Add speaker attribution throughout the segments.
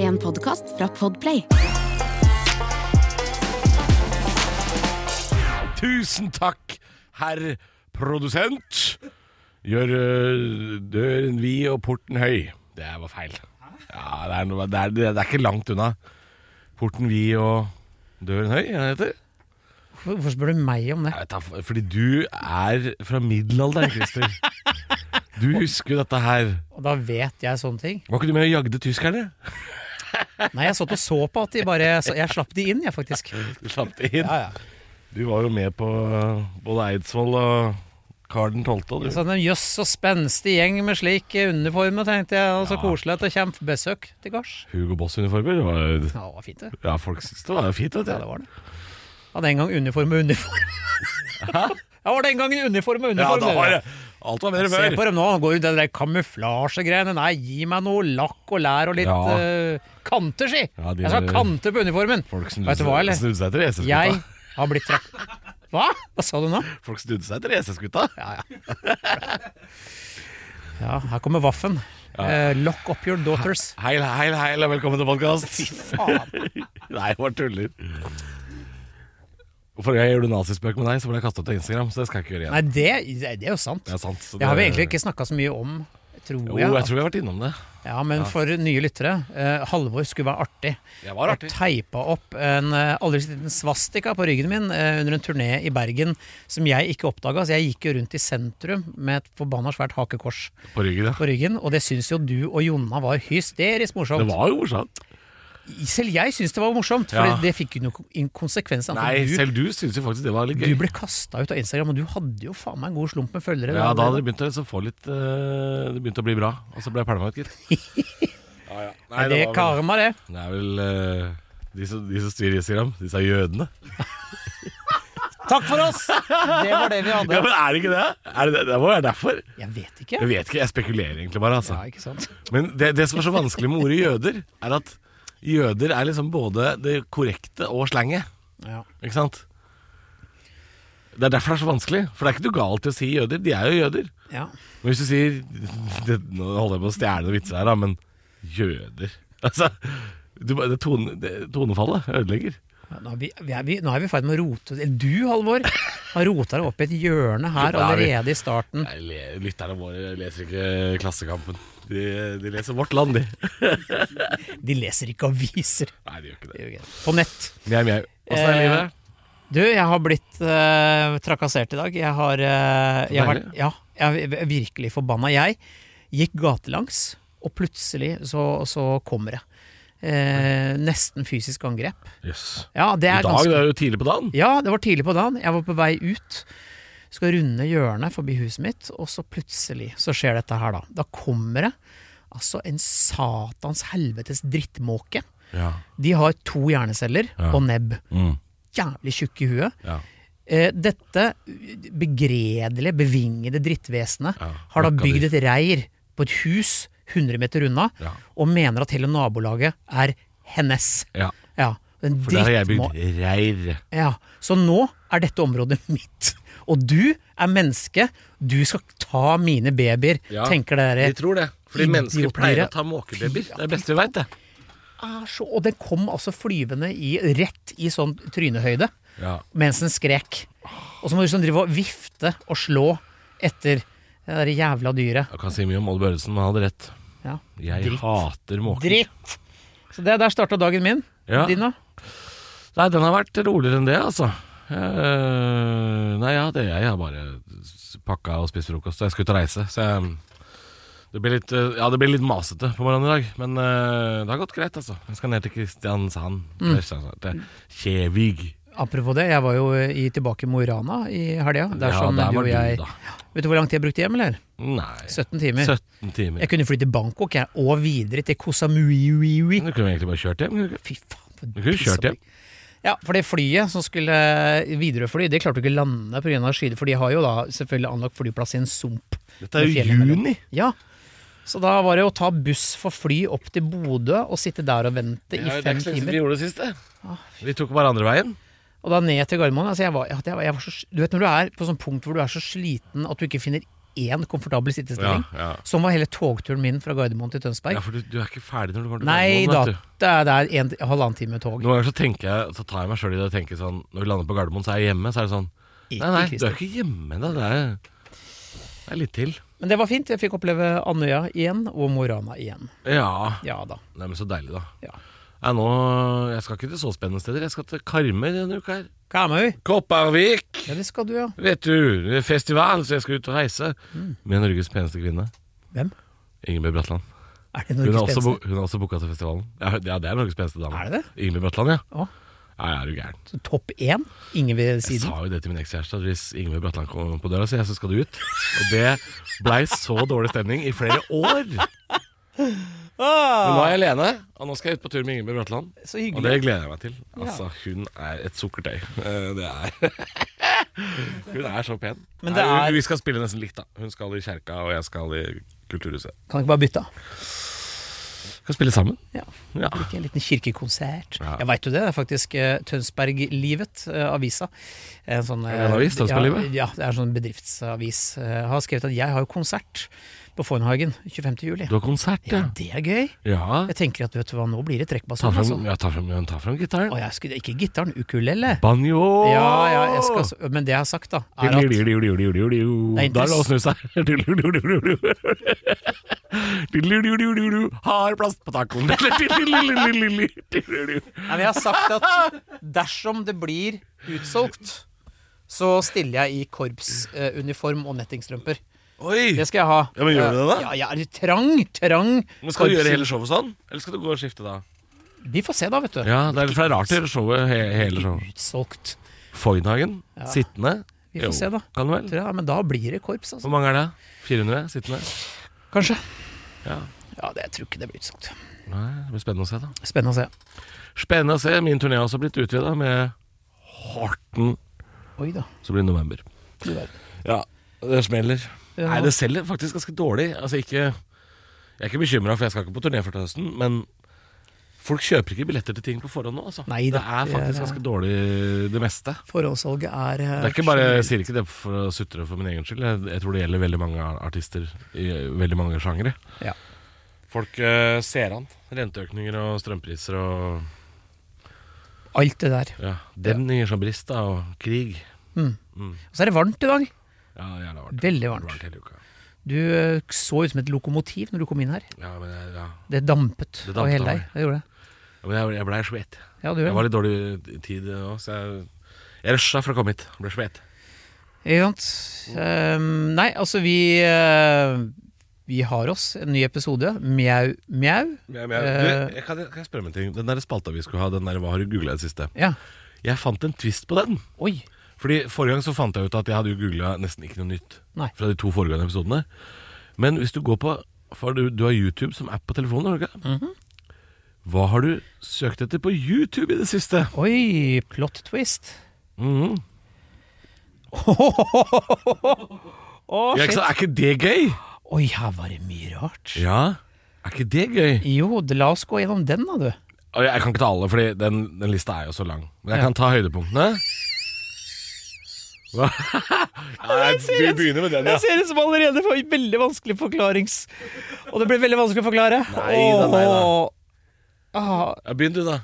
Speaker 1: en podkast fra Podplay.
Speaker 2: Tusen takk, herr produsent. Gjør øh, døren vid og porten høy. Det var feil. Ja, det er, noe, det, er, det er ikke langt unna. Porten vid og døren høy, er det det heter?
Speaker 3: Hvorfor spør du meg om det?
Speaker 2: Jeg vet da, f- fordi du er fra middelalderen, Christer. Du husker jo dette her.
Speaker 3: Og da vet jeg sånne ting.
Speaker 2: Var ikke du med og jagde tyskerne?
Speaker 3: Nei, jeg satt og så på at de bare Jeg slapp de inn, jeg, faktisk.
Speaker 2: Du slapp det inn. Du var jo med på øh, både Eidsvoll og Karl 12. og Du.
Speaker 3: Sånn en jøss så spenstig gjeng med slik uniform, tenkte jeg. Og så koselig at det kommer besøk til gards.
Speaker 2: Hugo Boss-uniformer. var-
Speaker 3: Ja, det var fint, det.
Speaker 2: Ja, folk syntes det var fint. Vet du.
Speaker 3: Ja, det var det. Ja, den gang uniform og uniform. Ja, var den gangen uniform og uniform.
Speaker 2: da
Speaker 3: dere.
Speaker 2: var det Alt var bedre
Speaker 3: Se
Speaker 2: før.
Speaker 3: på dem nå, han går rundt i det der kamuflasjegreiene. Nei, gi meg noe lakk og lær og litt
Speaker 2: Ja.
Speaker 3: eh, kanter, si!
Speaker 2: Ja, de
Speaker 3: jeg skal
Speaker 2: der-
Speaker 3: ha kanter på uniformen.
Speaker 2: Folk
Speaker 3: Vet du
Speaker 2: snudde
Speaker 3: hva, eller?
Speaker 2: snudde seg til racerskuta.
Speaker 3: Jeg har blitt trak... Hva? Hva sa du nå?
Speaker 2: Folk snudde seg til racerskuta.
Speaker 3: Ja, her kommer Vaffen. Eh, lock up your daughters.
Speaker 2: Heil, heil, heil, og velkommen til podkast. Nei, jeg bare tuller. Forrige gang jeg gjorde nazispøk med deg, så ble jeg kasta ut av Instagram. Så det skal jeg ikke gjøre igjen.
Speaker 3: Nei, det, det er jo sant.
Speaker 2: Det er sant. så
Speaker 3: Det har vi
Speaker 2: det-
Speaker 3: egentlig ikke snakka så mye om, tror
Speaker 2: Jo,
Speaker 3: jeg.
Speaker 2: jeg tror vi har vært innom det.
Speaker 3: Ja, Men for nye lyttere, eh, Halvor skulle være artig.
Speaker 2: Jeg var artig.
Speaker 3: Jeg teipa opp en eh, aldri så liten svastika på ryggen min eh, under en turné i Bergen som jeg ikke oppdaga. Så jeg gikk jo rundt i sentrum med et forbanna svært hakekors
Speaker 2: På ryggen, ja.
Speaker 3: på ryggen, og det syns jo du og Jonna var hysterisk morsomt.
Speaker 2: Det var jo morsomt.
Speaker 3: Selv jeg syns det var morsomt, for
Speaker 2: Ja.
Speaker 3: det fikk jo noen konsekvenser.
Speaker 2: Nei, selv du syns jo faktisk det var litt
Speaker 3: Du
Speaker 2: gøy.
Speaker 3: ble kasta ut av Instagram, og du hadde jo faen meg en god slump med følgere.
Speaker 2: Ja, da hadde det begynt å liksom få litt eh, Det begynte å bli bra. Og så ble jeg pælma ut, gitt. Ja, ja. Nei,
Speaker 3: Er det
Speaker 2: var vel-
Speaker 3: karma, det?
Speaker 2: Det er vel eh, de, som, de som styrer Instagram, disse er jødene.
Speaker 3: Takk for oss! Det var det vi
Speaker 2: Ja,
Speaker 3: hadde.
Speaker 2: men er det ikke det? Er det, det må være derfor.
Speaker 3: Jeg vet ikke.
Speaker 2: Jeg vet ikke, jeg spekulerer egentlig bare. altså
Speaker 3: Ja, ikke sant?
Speaker 2: Men det, det som er så vanskelig med ordet jøder, er at jøder er liksom både det korrekte og slanget.
Speaker 3: Ja.
Speaker 2: Ikke sant? Det er derfor det er så vanskelig. For det er ikke noe galt i å si jøder. De er jo jøder.
Speaker 3: ja.
Speaker 2: Men hvis du sier det, Nå holder jeg på å stjele noen vitser her, da, men jøder Altså, du, bare- det, tone, det tonefallet ødelegger.
Speaker 3: Nå er vi, vi er- vi- nå er vi i ferd med å rote eller Du, Halvor, har rota deg opp i et hjørne
Speaker 2: Ja,
Speaker 3: her
Speaker 2: det er
Speaker 3: allerede i starten.
Speaker 2: Nei, le- Lytterne våre leser ikke Klassekampen. De, de leser Vårt Land, de.
Speaker 3: De leser ikke aviser.
Speaker 2: Nei, de gjør ikke
Speaker 3: Det
Speaker 2: det.
Speaker 3: er jo greit. På nett.
Speaker 2: Mjau, mjau. Åssen er
Speaker 3: Eh,
Speaker 2: livet?
Speaker 3: Du, jeg har blitt eh, trakassert i dag. Jeg har, eh, jeg har vært
Speaker 2: Deilig.
Speaker 3: Ja, jeg er virkelig forbanna. Jeg gikk gatelangs, og plutselig så, så kommer det. Eh, nesten fysisk angrep.
Speaker 2: Jøss.
Speaker 3: Ja, det
Speaker 2: I
Speaker 3: er
Speaker 2: dag det
Speaker 3: ganske
Speaker 2: er jo tidlig på dagen.
Speaker 3: Ja, det var tidlig på dagen. Jeg var på vei ut. Skal runde hjørnet forbi huset mitt, og så plutselig så skjer dette her, da. Da kommer det altså en satans helvetes drittmåke.
Speaker 2: Ja.
Speaker 3: De har to hjerneceller
Speaker 2: Ja.
Speaker 3: og nebb.
Speaker 2: Mm.
Speaker 3: Jævlig tjukke i huet.
Speaker 2: ja.
Speaker 3: Eh, dette begredelige, bevingede drittvesenet
Speaker 2: Ja,
Speaker 3: har da
Speaker 2: møkkadyr.
Speaker 3: bygd et reir på et hus 100 meter unna,
Speaker 2: Ja.
Speaker 3: og mener at hele nabolaget er hennes.
Speaker 2: ja.
Speaker 3: Ja, den
Speaker 2: For der har jeg
Speaker 3: drittmå-
Speaker 2: bygd reir.
Speaker 3: ja, Så nå er dette området mitt. Og du er menneske, du skal ta mine babyer,
Speaker 2: Ja,
Speaker 3: tenker dere.
Speaker 2: De tror det. Fordi mennesker
Speaker 3: Idiotdyret.
Speaker 2: pleier å ta måkebabyer. Det er det beste vi veit, det.
Speaker 3: Er Ah, så, og den kom altså flyvende i, rett i sånn trynehøyde
Speaker 2: Ja.
Speaker 3: mens den skrek. Og så må du sånn drive og vifte og slå etter det der jævla dyret.
Speaker 2: Jeg kan si mye om Odd Børresen, men han hadde rett.
Speaker 3: Ja.
Speaker 2: Jeg
Speaker 3: Dritt.
Speaker 2: hater måker.
Speaker 3: Dritt! Så det der starta dagen min.
Speaker 2: Ja.
Speaker 3: Din, da?
Speaker 2: Nei, den har vært roligere enn det, altså. Eh, nei, ja, det jeg har bare s- pakka og spist frokost. Jeg skulle ut og reise, så jeg det blir, litt, eh, ja, det blir litt masete på morgenen i dag, men eh, det har gått greit, altså. Jeg skal ned til Kristiansand.
Speaker 3: Mm.
Speaker 2: Kristiansand, Til Kjevig.
Speaker 3: Apropos det, jeg var jo eh, i, tilbake i Mo i Rana i helga.
Speaker 2: Ja,
Speaker 3: Dersom
Speaker 2: der
Speaker 3: du
Speaker 2: var
Speaker 3: og
Speaker 2: du,
Speaker 3: jeg
Speaker 2: da.
Speaker 3: Vet du hvor lang tid jeg brukte hjem, eller?
Speaker 2: Nei
Speaker 3: 17 timer.
Speaker 2: 17 timer.
Speaker 3: Jeg kunne fly til Bangkok jeg, og videre til Koh Samui.
Speaker 2: Du kunne egentlig bare kjørt hjem. kunne du ikke?
Speaker 3: Fy faen. For
Speaker 2: Du kunne kjørt hjem.
Speaker 3: Ja, for det flyet som skulle viderefly, det klarte du ikke å lande pga. skyet, for de har jo da selvfølgelig anlagt flyplass i en sump.
Speaker 2: Dette er
Speaker 3: med
Speaker 2: jo
Speaker 3: fjellet imellom.
Speaker 2: juni.
Speaker 3: Ja. Så da var det å ta buss for fly opp til Bodø og sitte der og vente i fem timer.
Speaker 2: Vi gjorde det siste. Vi tok bare andre veien.
Speaker 3: Og da ned til Gardermoen. Altså jeg var, ja, det var, jeg var så, du vet når du er på sånn punkt hvor du er så sliten at du ikke finner én komfortabel
Speaker 2: Ja,
Speaker 3: sittestilling.
Speaker 2: ja.
Speaker 3: Som var hele togturen min fra Gardermoen til Tønsberg.
Speaker 2: ja, for du, du er ikke ferdig når du kommer til
Speaker 3: Nei da,
Speaker 2: Gardermoen. vet du.
Speaker 3: det er, det er en, halvannen time med tog.
Speaker 2: Noen ganger så tenker jeg Så tar jeg meg sjøl i det og tenker sånn Når vi lander på Gardermoen, så er jeg hjemme. Så er det sånn Nei, nei,
Speaker 3: Ikke
Speaker 2: du er
Speaker 3: Christer.
Speaker 2: ikke hjemme ennå. Det, er- det er litt til.
Speaker 3: Men det var fint. Jeg fikk oppleve Andøya igjen, og Mo i Rana igjen.
Speaker 2: Ja.
Speaker 3: Ja da.
Speaker 2: Nei, men så deilig, da.
Speaker 3: Ja.
Speaker 2: Jeg, nå, jeg skal ikke til så spennende steder. Jeg skal til Karmøy denne uka her.
Speaker 3: Karmøy.
Speaker 2: Kopervik!
Speaker 3: Ja, det skal du, ja.
Speaker 2: Vet du, det er festival, så jeg skal ut og reise.
Speaker 3: Mm.
Speaker 2: Med Norges peneste kvinne.
Speaker 3: Hvem?
Speaker 2: Ingebjørg Bratland.
Speaker 3: Er
Speaker 2: Hun
Speaker 3: det
Speaker 2: er
Speaker 3: Norges
Speaker 2: også,
Speaker 3: peneste?
Speaker 2: bo- hun er også booka til festivalen. Ja, det er- det er Norges peneste dame.
Speaker 3: Er det det?
Speaker 2: Ingebjørg Bratland, ja.
Speaker 3: Å.
Speaker 2: Ja, ja, er du gæren.
Speaker 3: Så Topp én? Ingen ved
Speaker 2: Jeg
Speaker 3: siden?
Speaker 2: sa jo det til min ekskjæreste, at hvis Ingebjørg Bratland kom på døra, så, jeg, så skal du ut. Og det blei så dårlig stemning i flere år. Men
Speaker 3: Ah!
Speaker 2: nå er jeg alene, og nå skal jeg ut på tur med Ingebjørg Bratland.
Speaker 3: Så
Speaker 2: Og
Speaker 3: hyggelig.
Speaker 2: det gleder jeg meg til. Altså, hun er et sukkertøy. Eh, Det er Hun er så pen.
Speaker 3: Men det
Speaker 2: Nei,
Speaker 3: er-
Speaker 2: Vi skal spille nesten likt, da. Hun skal i kjerka, og jeg skal i kulturhuset.
Speaker 3: Kan ikke bare bytte?
Speaker 2: Skal spille sammen.
Speaker 3: Ja.
Speaker 2: Ja.
Speaker 3: Ikke en liten kirkekonsert.
Speaker 2: Ja.
Speaker 3: Jeg veit jo det. Det er faktisk eh, Tønsberglivet, eh, avisa. En sånn eh,
Speaker 2: Er det en avis, Tønsberglivet?
Speaker 3: Ja, ja, det er en sånn bedriftsavis. Eh, har skrevet at jeg har jo konsert på Fornhagen 25. juli.
Speaker 2: Du har konsert,
Speaker 3: Ja,
Speaker 2: ja?
Speaker 3: det er gøy.
Speaker 2: Ja.
Speaker 3: Jeg tenker at vet du hva, nå blir det
Speaker 2: Ta
Speaker 3: trekkbassong, altså.
Speaker 2: fram, ja, ta fram, ja, ta fram gitaren.
Speaker 3: Og jeg skulle ikke gitaren, ukulele.
Speaker 2: Banjo!
Speaker 3: Ja, ja, jeg skal, s- men det jeg har sagt, da, er at
Speaker 2: Da er det å snu seg. Har plast på tacoen.
Speaker 3: Nei, men Jeg har sagt at dersom det blir utsolgt, så stiller jeg i korpsuniform og nettingstrømper.
Speaker 2: Oi!
Speaker 3: Det skal jeg ha.
Speaker 2: Ja, men gjør du det da?
Speaker 3: Ja, jeg er trang, trang.
Speaker 2: Men Skal du gjøre
Speaker 3: korps-
Speaker 2: hele showet sånn, eller skal du gå og skifte da?
Speaker 3: Vi får se, da, vet du.
Speaker 2: Ja, det er, for det er rart å gjøre showet he hele showet.
Speaker 3: Utsolgt.
Speaker 2: Foynhagen, sittende.
Speaker 3: Vi får
Speaker 2: Jo,
Speaker 3: se, da.
Speaker 2: Kan du vel?
Speaker 3: Tror jeg, men da blir det korps, altså.
Speaker 2: Hvor mange er det? 400 sittende?
Speaker 3: Kanskje.
Speaker 2: Ja.
Speaker 3: Ja, det, jeg tror ikke det blir utsolgt.
Speaker 2: Nei, det blir spennende å se, da.
Speaker 3: Spennende å se.
Speaker 2: Spennende å se. Min turné har også blitt utvida med Horten,
Speaker 3: Oi da.
Speaker 2: så blir det november.
Speaker 3: Du verden.
Speaker 2: Ja, det smeller.
Speaker 3: Ja.
Speaker 2: Nei, det selger faktisk ganske dårlig. Altså, ikke Jeg er ikke bekymra, for jeg skal ikke på turné før til høsten, men Folk kjøper ikke billetter til ting på forhånd nå, altså.
Speaker 3: Nei da,
Speaker 2: det er
Speaker 3: det er-
Speaker 2: faktisk ganske dårlig, det meste.
Speaker 3: Forhåndssalget er eh,
Speaker 2: Det er ikke bare, Jeg
Speaker 3: generelt-
Speaker 2: sier ikke det for å sutre for min egen skyld. Jeg, jeg tror det gjelder veldig mange ar- artister i eh, veldig mange sjangere.
Speaker 3: Ja.
Speaker 2: Folk eh, ser an. Renteøkninger og strømpriser og
Speaker 3: Alt det der.
Speaker 2: ja, demninger som brister, og krig.
Speaker 3: Og så er det varmt i dag.
Speaker 2: Ja, jævla varmt.
Speaker 3: Veldig varmt.
Speaker 2: varmt hele uka.
Speaker 3: Du eh, så ut som et lokomotiv når du kom inn her.
Speaker 2: Ja, men jeg, ja.
Speaker 3: Det dampet,
Speaker 2: Det
Speaker 3: av
Speaker 2: dampet av
Speaker 3: hele deg.
Speaker 2: meg.
Speaker 3: Det gjorde det.
Speaker 2: Ja, men jeg, jeg blei svett.
Speaker 3: Ja, du
Speaker 2: Jeg
Speaker 3: gjorde
Speaker 2: var
Speaker 3: det.
Speaker 2: litt dårlig i tid òg, så jeg, jeg rusha for å komme hit. Ble svett.
Speaker 3: Ikke sant. Ehm, nei, altså vi eh, Vi har oss en ny episode. Mjau, mjau.
Speaker 2: Men jeg, men jeg,
Speaker 3: Eh.
Speaker 2: du, jeg, kan, kan jeg spørre om en ting? Den der spalta vi skulle ha, den der, hva har du googla i det siste?
Speaker 3: Ja.
Speaker 2: Jeg fant en twist på den.
Speaker 3: Oi.
Speaker 2: Fordi Forrige gang så fant jeg ut at jeg hadde jo googla nesten ikke noe nytt
Speaker 3: Nei.
Speaker 2: fra de to foregående episodene. Men hvis du går på For du, du har YouTube som app på telefonen, har du ikke?
Speaker 3: Mhm.
Speaker 2: Hva har du søkt etter på YouTube i det siste?
Speaker 3: Oi, plot twist.
Speaker 2: Mhm.
Speaker 3: Å,
Speaker 2: ja, ikke,
Speaker 3: shit.
Speaker 2: sant? er ikke det gøy?
Speaker 3: Oi, her var det mye rart.
Speaker 2: Ja. Er ikke det gøy?
Speaker 3: Jo, det- la oss gå gjennom den, da, du.
Speaker 2: Og Jeg kan ikke ta alle, Fordi den, den lista er jo så lang. Men jeg
Speaker 3: Ja.
Speaker 2: kan ta høydepunktene. Hva? Nei, du begynner med den, ja.
Speaker 3: Jeg ser det som allerede for veldig vanskelig forklarings... Og det blir veldig vanskelig å forklare.
Speaker 2: Nei da, nei da.
Speaker 3: Åh. Ah,
Speaker 2: ja. Begynn du, da.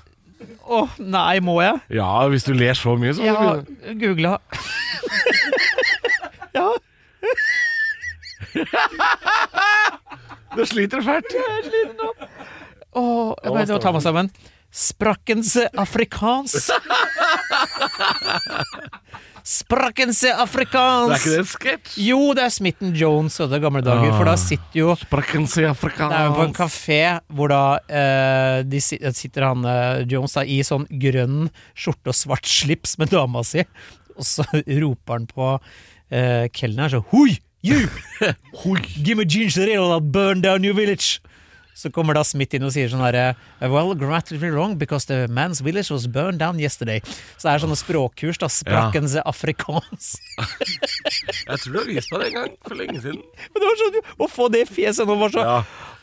Speaker 3: åh, nei, må jeg?
Speaker 2: Ja, hvis du ler så mye, så må du
Speaker 3: Jeg
Speaker 2: begynne.
Speaker 3: har googla Ja,
Speaker 2: Du sliter fælt.
Speaker 3: åh, jeg må ta meg sammen. Sprakkense afrikansk. Sprakkense
Speaker 2: Det er
Speaker 3: afrikansk.
Speaker 2: ikke det en sketsj?
Speaker 3: Jo, det er Smitten Jones og det gamle dager, for da sitter jo
Speaker 2: Sprakkense
Speaker 3: det er jo på en
Speaker 2: afrikansk
Speaker 3: kafé hvor da eh, de, si- sitter han eh, Jones da i sånn grønn skjorte og svart slips med dama si, og så roper han på eh, kelneren så Hoi! You! Give me ginger ale and I'll burn down your village! Så kommer da Smith inn og sier sånn herre Well, grammatically wrong because the man's village was burned down yesterday. Så det er sånne språkkurs, da. Sprakkense afrikansk.
Speaker 2: Jeg tror du har vist meg det en gang for lenge siden.
Speaker 3: Men det var sånn, Å få det i fjeset nå var så
Speaker 2: Ja.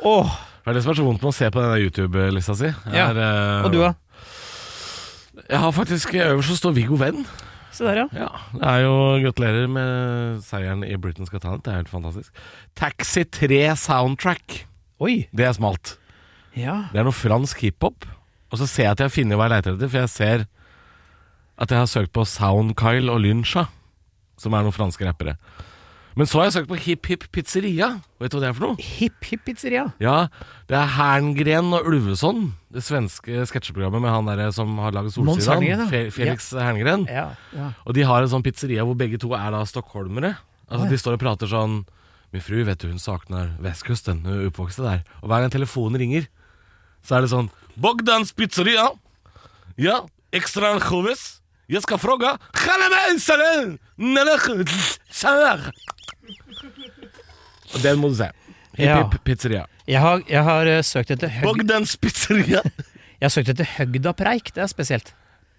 Speaker 3: Åh.
Speaker 2: Det er det som er så vondt med å se på denne YouTube-lista si.
Speaker 3: Ja.
Speaker 2: Er, eh,
Speaker 3: Og du, da?
Speaker 2: Jeg har faktisk øverst så står Viggo Venn.
Speaker 3: Se der, ja.
Speaker 2: Ja, det er jo Gratulerer med seieren i Britain's Got Talent. Det er helt fantastisk. Taxi 3 soundtrack.
Speaker 3: Oi.
Speaker 2: Det er smalt.
Speaker 3: Ja.
Speaker 2: Det er noe fransk hiphop. Og så ser jeg at jeg har funnet hva jeg leter etter, for jeg ser at jeg har søkt på Soundkyle og Lynsja, som er noen franske rappere. Men så har jeg søkt på Hip Hip Pizzeria. Vet du hva det er for noe?
Speaker 3: Hipp Hipp Pizzeria.
Speaker 2: Ja, det er Herngren og Ulveson, det svenske sketsjeprogrammet med han der som har laget
Speaker 3: Mons
Speaker 2: Solsidan.
Speaker 3: Herngren, ja.
Speaker 2: Fe- Felix Herngren.
Speaker 3: Ja. ja.
Speaker 2: Og de har en sånn pizzeria hvor begge to er da stockholmere. Altså De står og prater sånn Min fru vet du, hun savner vestkysten, hun er oppvokst der. Og hver gang telefonen ringer, så er det sånn Bogdans pizzeria! Ja, ekstra chovis! Jeg skal fråga Halamensalen! Og den må du se. Hipp
Speaker 3: Ja.
Speaker 2: hipp pizzeria.
Speaker 3: Jeg har, jeg har eh, søkt etter Høg,
Speaker 2: Bogdans pizzeria!
Speaker 3: Jeg har søkt etter Høgda-preik, det er spesielt.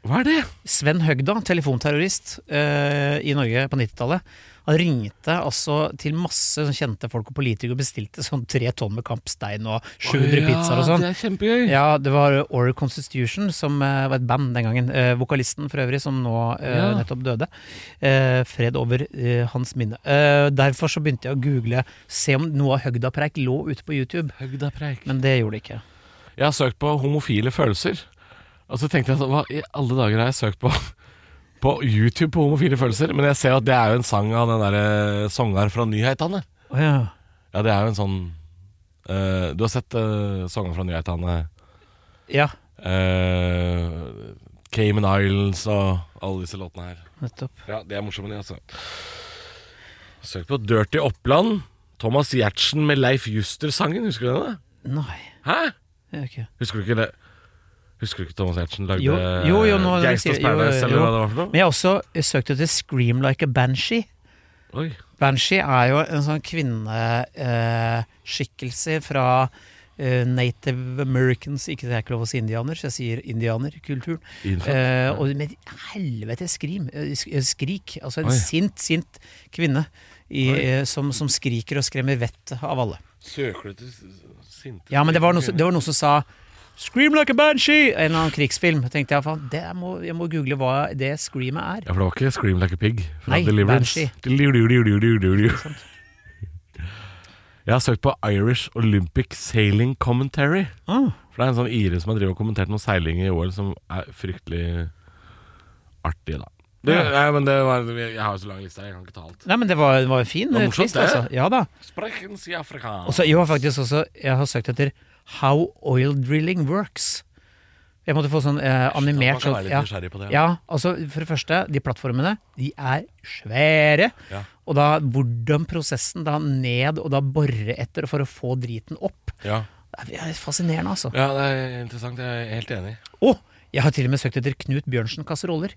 Speaker 2: Hva er det?
Speaker 3: Sven Høgda, telefonterrorist eh, i Norge på 90-tallet. Han ringte altså til masse sånn kjente folk og politikere og bestilte sånn tre tonn med kampstein og 700 pizzaer og sånn.
Speaker 2: Det er kjempegøy.
Speaker 3: Ja, det var Oral Constitution, som eh, var et band den gangen. Eh, vokalisten for øvrig, som nå eh,
Speaker 2: Ja.
Speaker 3: nettopp døde. Eh, fred over eh, hans minne. Eh, derfor så begynte jeg å google, se om noe av Høgda-preik lå ute på YouTube.
Speaker 2: Høgda preik.
Speaker 3: Men det gjorde det ikke.
Speaker 2: Jeg har søkt på homofile følelser. Og så tenkte jeg sånn, hva i alle dager har jeg søkt på på YouTube på homofile følelser? Men jeg ser jo at det er jo en sang av den derre sangeren fra Nyheitane.
Speaker 3: Å ja.
Speaker 2: Ja, det er jo en sånn eh, Du har sett uh, sangeren fra Nyheitane?
Speaker 3: ja,
Speaker 2: eh, Cayman Islands og alle disse låtene her.
Speaker 3: nettopp.
Speaker 2: Ja, det er morsomme, de, altså. Søkt på Dirty Oppland. Thomas Giertsen med Leif Juster-sangen, husker du den? da?
Speaker 3: Nei.
Speaker 2: Hæ?
Speaker 3: det er ikke-
Speaker 2: Husker du ikke det? Husker du ikke Thomas Hertzen lagde
Speaker 3: Jo, jo, jo, nå-
Speaker 2: Gangsters
Speaker 3: sier- jo,
Speaker 2: Paradise, eller
Speaker 3: jo.
Speaker 2: hva det var for noe?
Speaker 3: Men jeg har også eh, søkt etter Scream Like a Banshee.
Speaker 2: Oi.
Speaker 3: Banshee er jo en sånn kvinneskikkelse fra eh, Native Americans Ikke det er ikke lov å si indianer, så jeg sier indianerkulturen.
Speaker 2: Innenfor.
Speaker 3: Eh, og med helvete skrim, eh, sk- eh, skrik. Altså en
Speaker 2: Oi.
Speaker 3: sint, sint kvinne i, eh, som, som skriker og skremmer vettet av alle.
Speaker 2: Søker du til sinte
Speaker 3: Ja, men det var noe, som- det var noe som sa Scream like a banshee! En eller annen krigsfilm. Jeg tenkte jeg, faen, det må, jeg må google hva det screamet er.
Speaker 2: Ja, for det var ikke Scream Like a Pig fra
Speaker 3: Nei,
Speaker 2: Deliverance.
Speaker 3: Banshee.
Speaker 2: Deliu-diu-diu-diu-diu-diu. Jeg har søkt på Irish Olympic Sailing Commentary.
Speaker 3: Ah,
Speaker 2: For det er en sånn ire som har drevet og kommentert noen seilinger i OL som er fryktelig artig, da. Det, nei, men det var, jeg har jo så lang liste her, jeg kan ikke ta alt.
Speaker 3: Nei, men det var, det var en fin
Speaker 2: var
Speaker 3: eh,
Speaker 2: morsomt,
Speaker 3: twist,
Speaker 2: det.
Speaker 3: altså. Ja da.
Speaker 2: Sprechens i Afrika.
Speaker 3: Og så jeg har faktisk også Jeg har søkt etter How oil drilling works Jeg måtte få sånn eh, animert
Speaker 2: Man kan
Speaker 3: sånn-
Speaker 2: være litt
Speaker 3: ja,
Speaker 2: nysgjerrig på det.
Speaker 3: ja, altså for det første De plattformene, de er svære
Speaker 2: Ja.
Speaker 3: Og da, hvordan prosessen da ned Og da borre etter for å få driten opp
Speaker 2: ja.
Speaker 3: Det er fascinerende altså
Speaker 2: Ja, det er interessant. Jeg er helt enig.
Speaker 3: Og jeg har til og med søkt etter Knut Bjørnsen kasseroller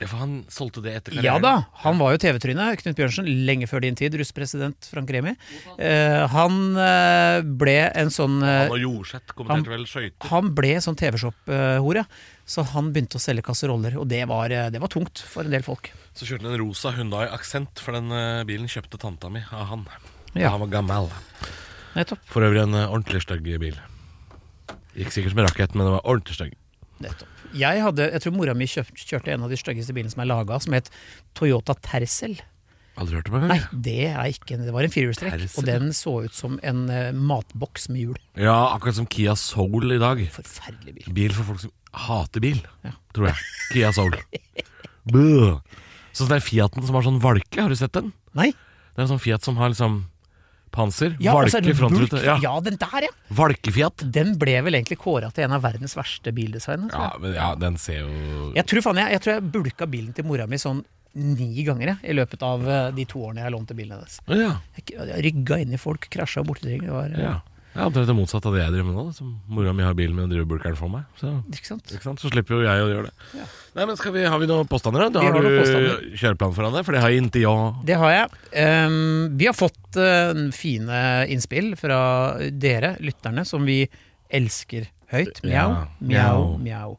Speaker 2: Ja, for han solgte det etter
Speaker 3: Ja da, han var jo TV-tryne, Knut Bjørnsen, lenge før din tid, russpresident Frank Remi eh, Han eh, ble en sånn eh,
Speaker 2: Han og Jorseth kommenterte vel skøyter.
Speaker 3: Han ble sånn TV-shop-hore, så han begynte å selge kasseroller. Og det var, eh, det var tungt for en del folk.
Speaker 2: Så kjørte han en rosa Hyundai Accent, for den eh, bilen kjøpte tanta mi av han.
Speaker 3: Ja.
Speaker 2: Ja. Han var gammel.
Speaker 3: Nettopp.
Speaker 2: For øvrig en eh, ordentlig stygg bil. Gikk sikkert som en rakett, men den var ordentlig stygg.
Speaker 3: Nettopp. Jeg, hadde, jeg tror mora mi kjøpt, kjørte en av de styggeste bilene som er laga, som het Toyota Tercel.
Speaker 2: Aldri hørt om den?
Speaker 3: Nei, det er ikke en- Det var en firehjulstrekk,
Speaker 2: Tercel,
Speaker 3: og den så ut som en eh, matboks med hjul.
Speaker 2: Ja, akkurat som Kia Soul i dag.
Speaker 3: Forferdelig bil.
Speaker 2: Bil for folk som hater bil,
Speaker 3: Ja.
Speaker 2: tror jeg. Kia Soul. Bøh. Sånn som den Fiaten som har sånn valke, har du sett den?
Speaker 3: Nei?
Speaker 2: Det er en sånn Fiat som har liksom panser,
Speaker 3: Ja,
Speaker 2: valke,
Speaker 3: altså, en
Speaker 2: frontrute.
Speaker 3: bulk-
Speaker 2: Ja.
Speaker 3: ja, den der, ja!
Speaker 2: Valkefiat.
Speaker 3: Den ble vel egentlig kåra til en av verdens verste bildesignere. tror jeg.
Speaker 2: Ja, men ja, den ser jo
Speaker 3: Jeg tror, faen, jeg, jeg tror jeg bulka bilen til mora mi sånn ni ganger jeg, i løpet av eh, de to årene jeg lånte bilen hennes.
Speaker 2: Ja,
Speaker 3: Jeg, jeg rygga inn i folk, krasja borti ting. Det var, eh,
Speaker 2: ja. Jeg er omtrent det motsatte av det jeg driver med nå. da, Som mora mi har bilen min og driver bulkeren for meg. Så,
Speaker 3: Ikke sant?
Speaker 2: ikke sant? så slipper jo jeg å gjøre det.
Speaker 3: Ja.
Speaker 2: Nei, men skal vi, Har vi noen påstander? da? Da
Speaker 3: Vi
Speaker 2: har,
Speaker 3: har
Speaker 2: du
Speaker 3: noen påstander.
Speaker 2: kjøreplan foran deg? For det har jeg ikke jeg.
Speaker 3: Det har jeg. Ehm, vi har fått eh, fine innspill fra dere, lytterne, som vi elsker høyt. Mjau,
Speaker 2: Ja.
Speaker 3: mjau, mjau.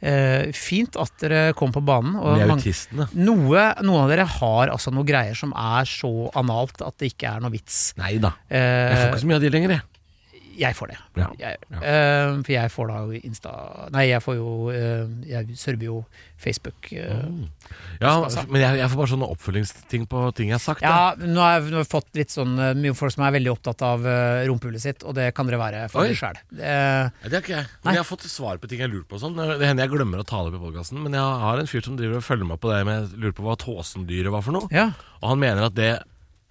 Speaker 3: Eh, fint at dere kom på banen. Og
Speaker 2: Vi er
Speaker 3: mange-
Speaker 2: autistene.
Speaker 3: noe, noen av dere har altså noe greier som er så analt at det ikke er noe vits.
Speaker 2: Nei da. Jeg får
Speaker 3: Eh,
Speaker 2: ikke så mye av de lenger, jeg.
Speaker 3: Jeg får det.
Speaker 2: Ja.
Speaker 3: Jeg, eh, for jeg får da jo Insta Nei, jeg får jo eh, Jeg server jo Facebook. eh.
Speaker 2: Ja, men jeg, jeg får bare sånne oppfølgingsting på ting jeg har sagt. da.
Speaker 3: Ja, nå har jeg nå har jeg fått litt sånn eh, mye folk som er veldig opptatt av eh, rumpehulet sitt, og det kan dere være for
Speaker 2: Oi.
Speaker 3: dere sjæl. Eh,
Speaker 2: Nei, Det har ikke jeg.
Speaker 3: Nei.
Speaker 2: Men jeg har fått svar på ting jeg lurer på. og Sånn. Det hender jeg glemmer å ta det opp i podkasten, men jeg har en fyr som driver og følger meg på det med lurer på hva tåsendyret var for noe.
Speaker 3: ja.
Speaker 2: Og han mener at det er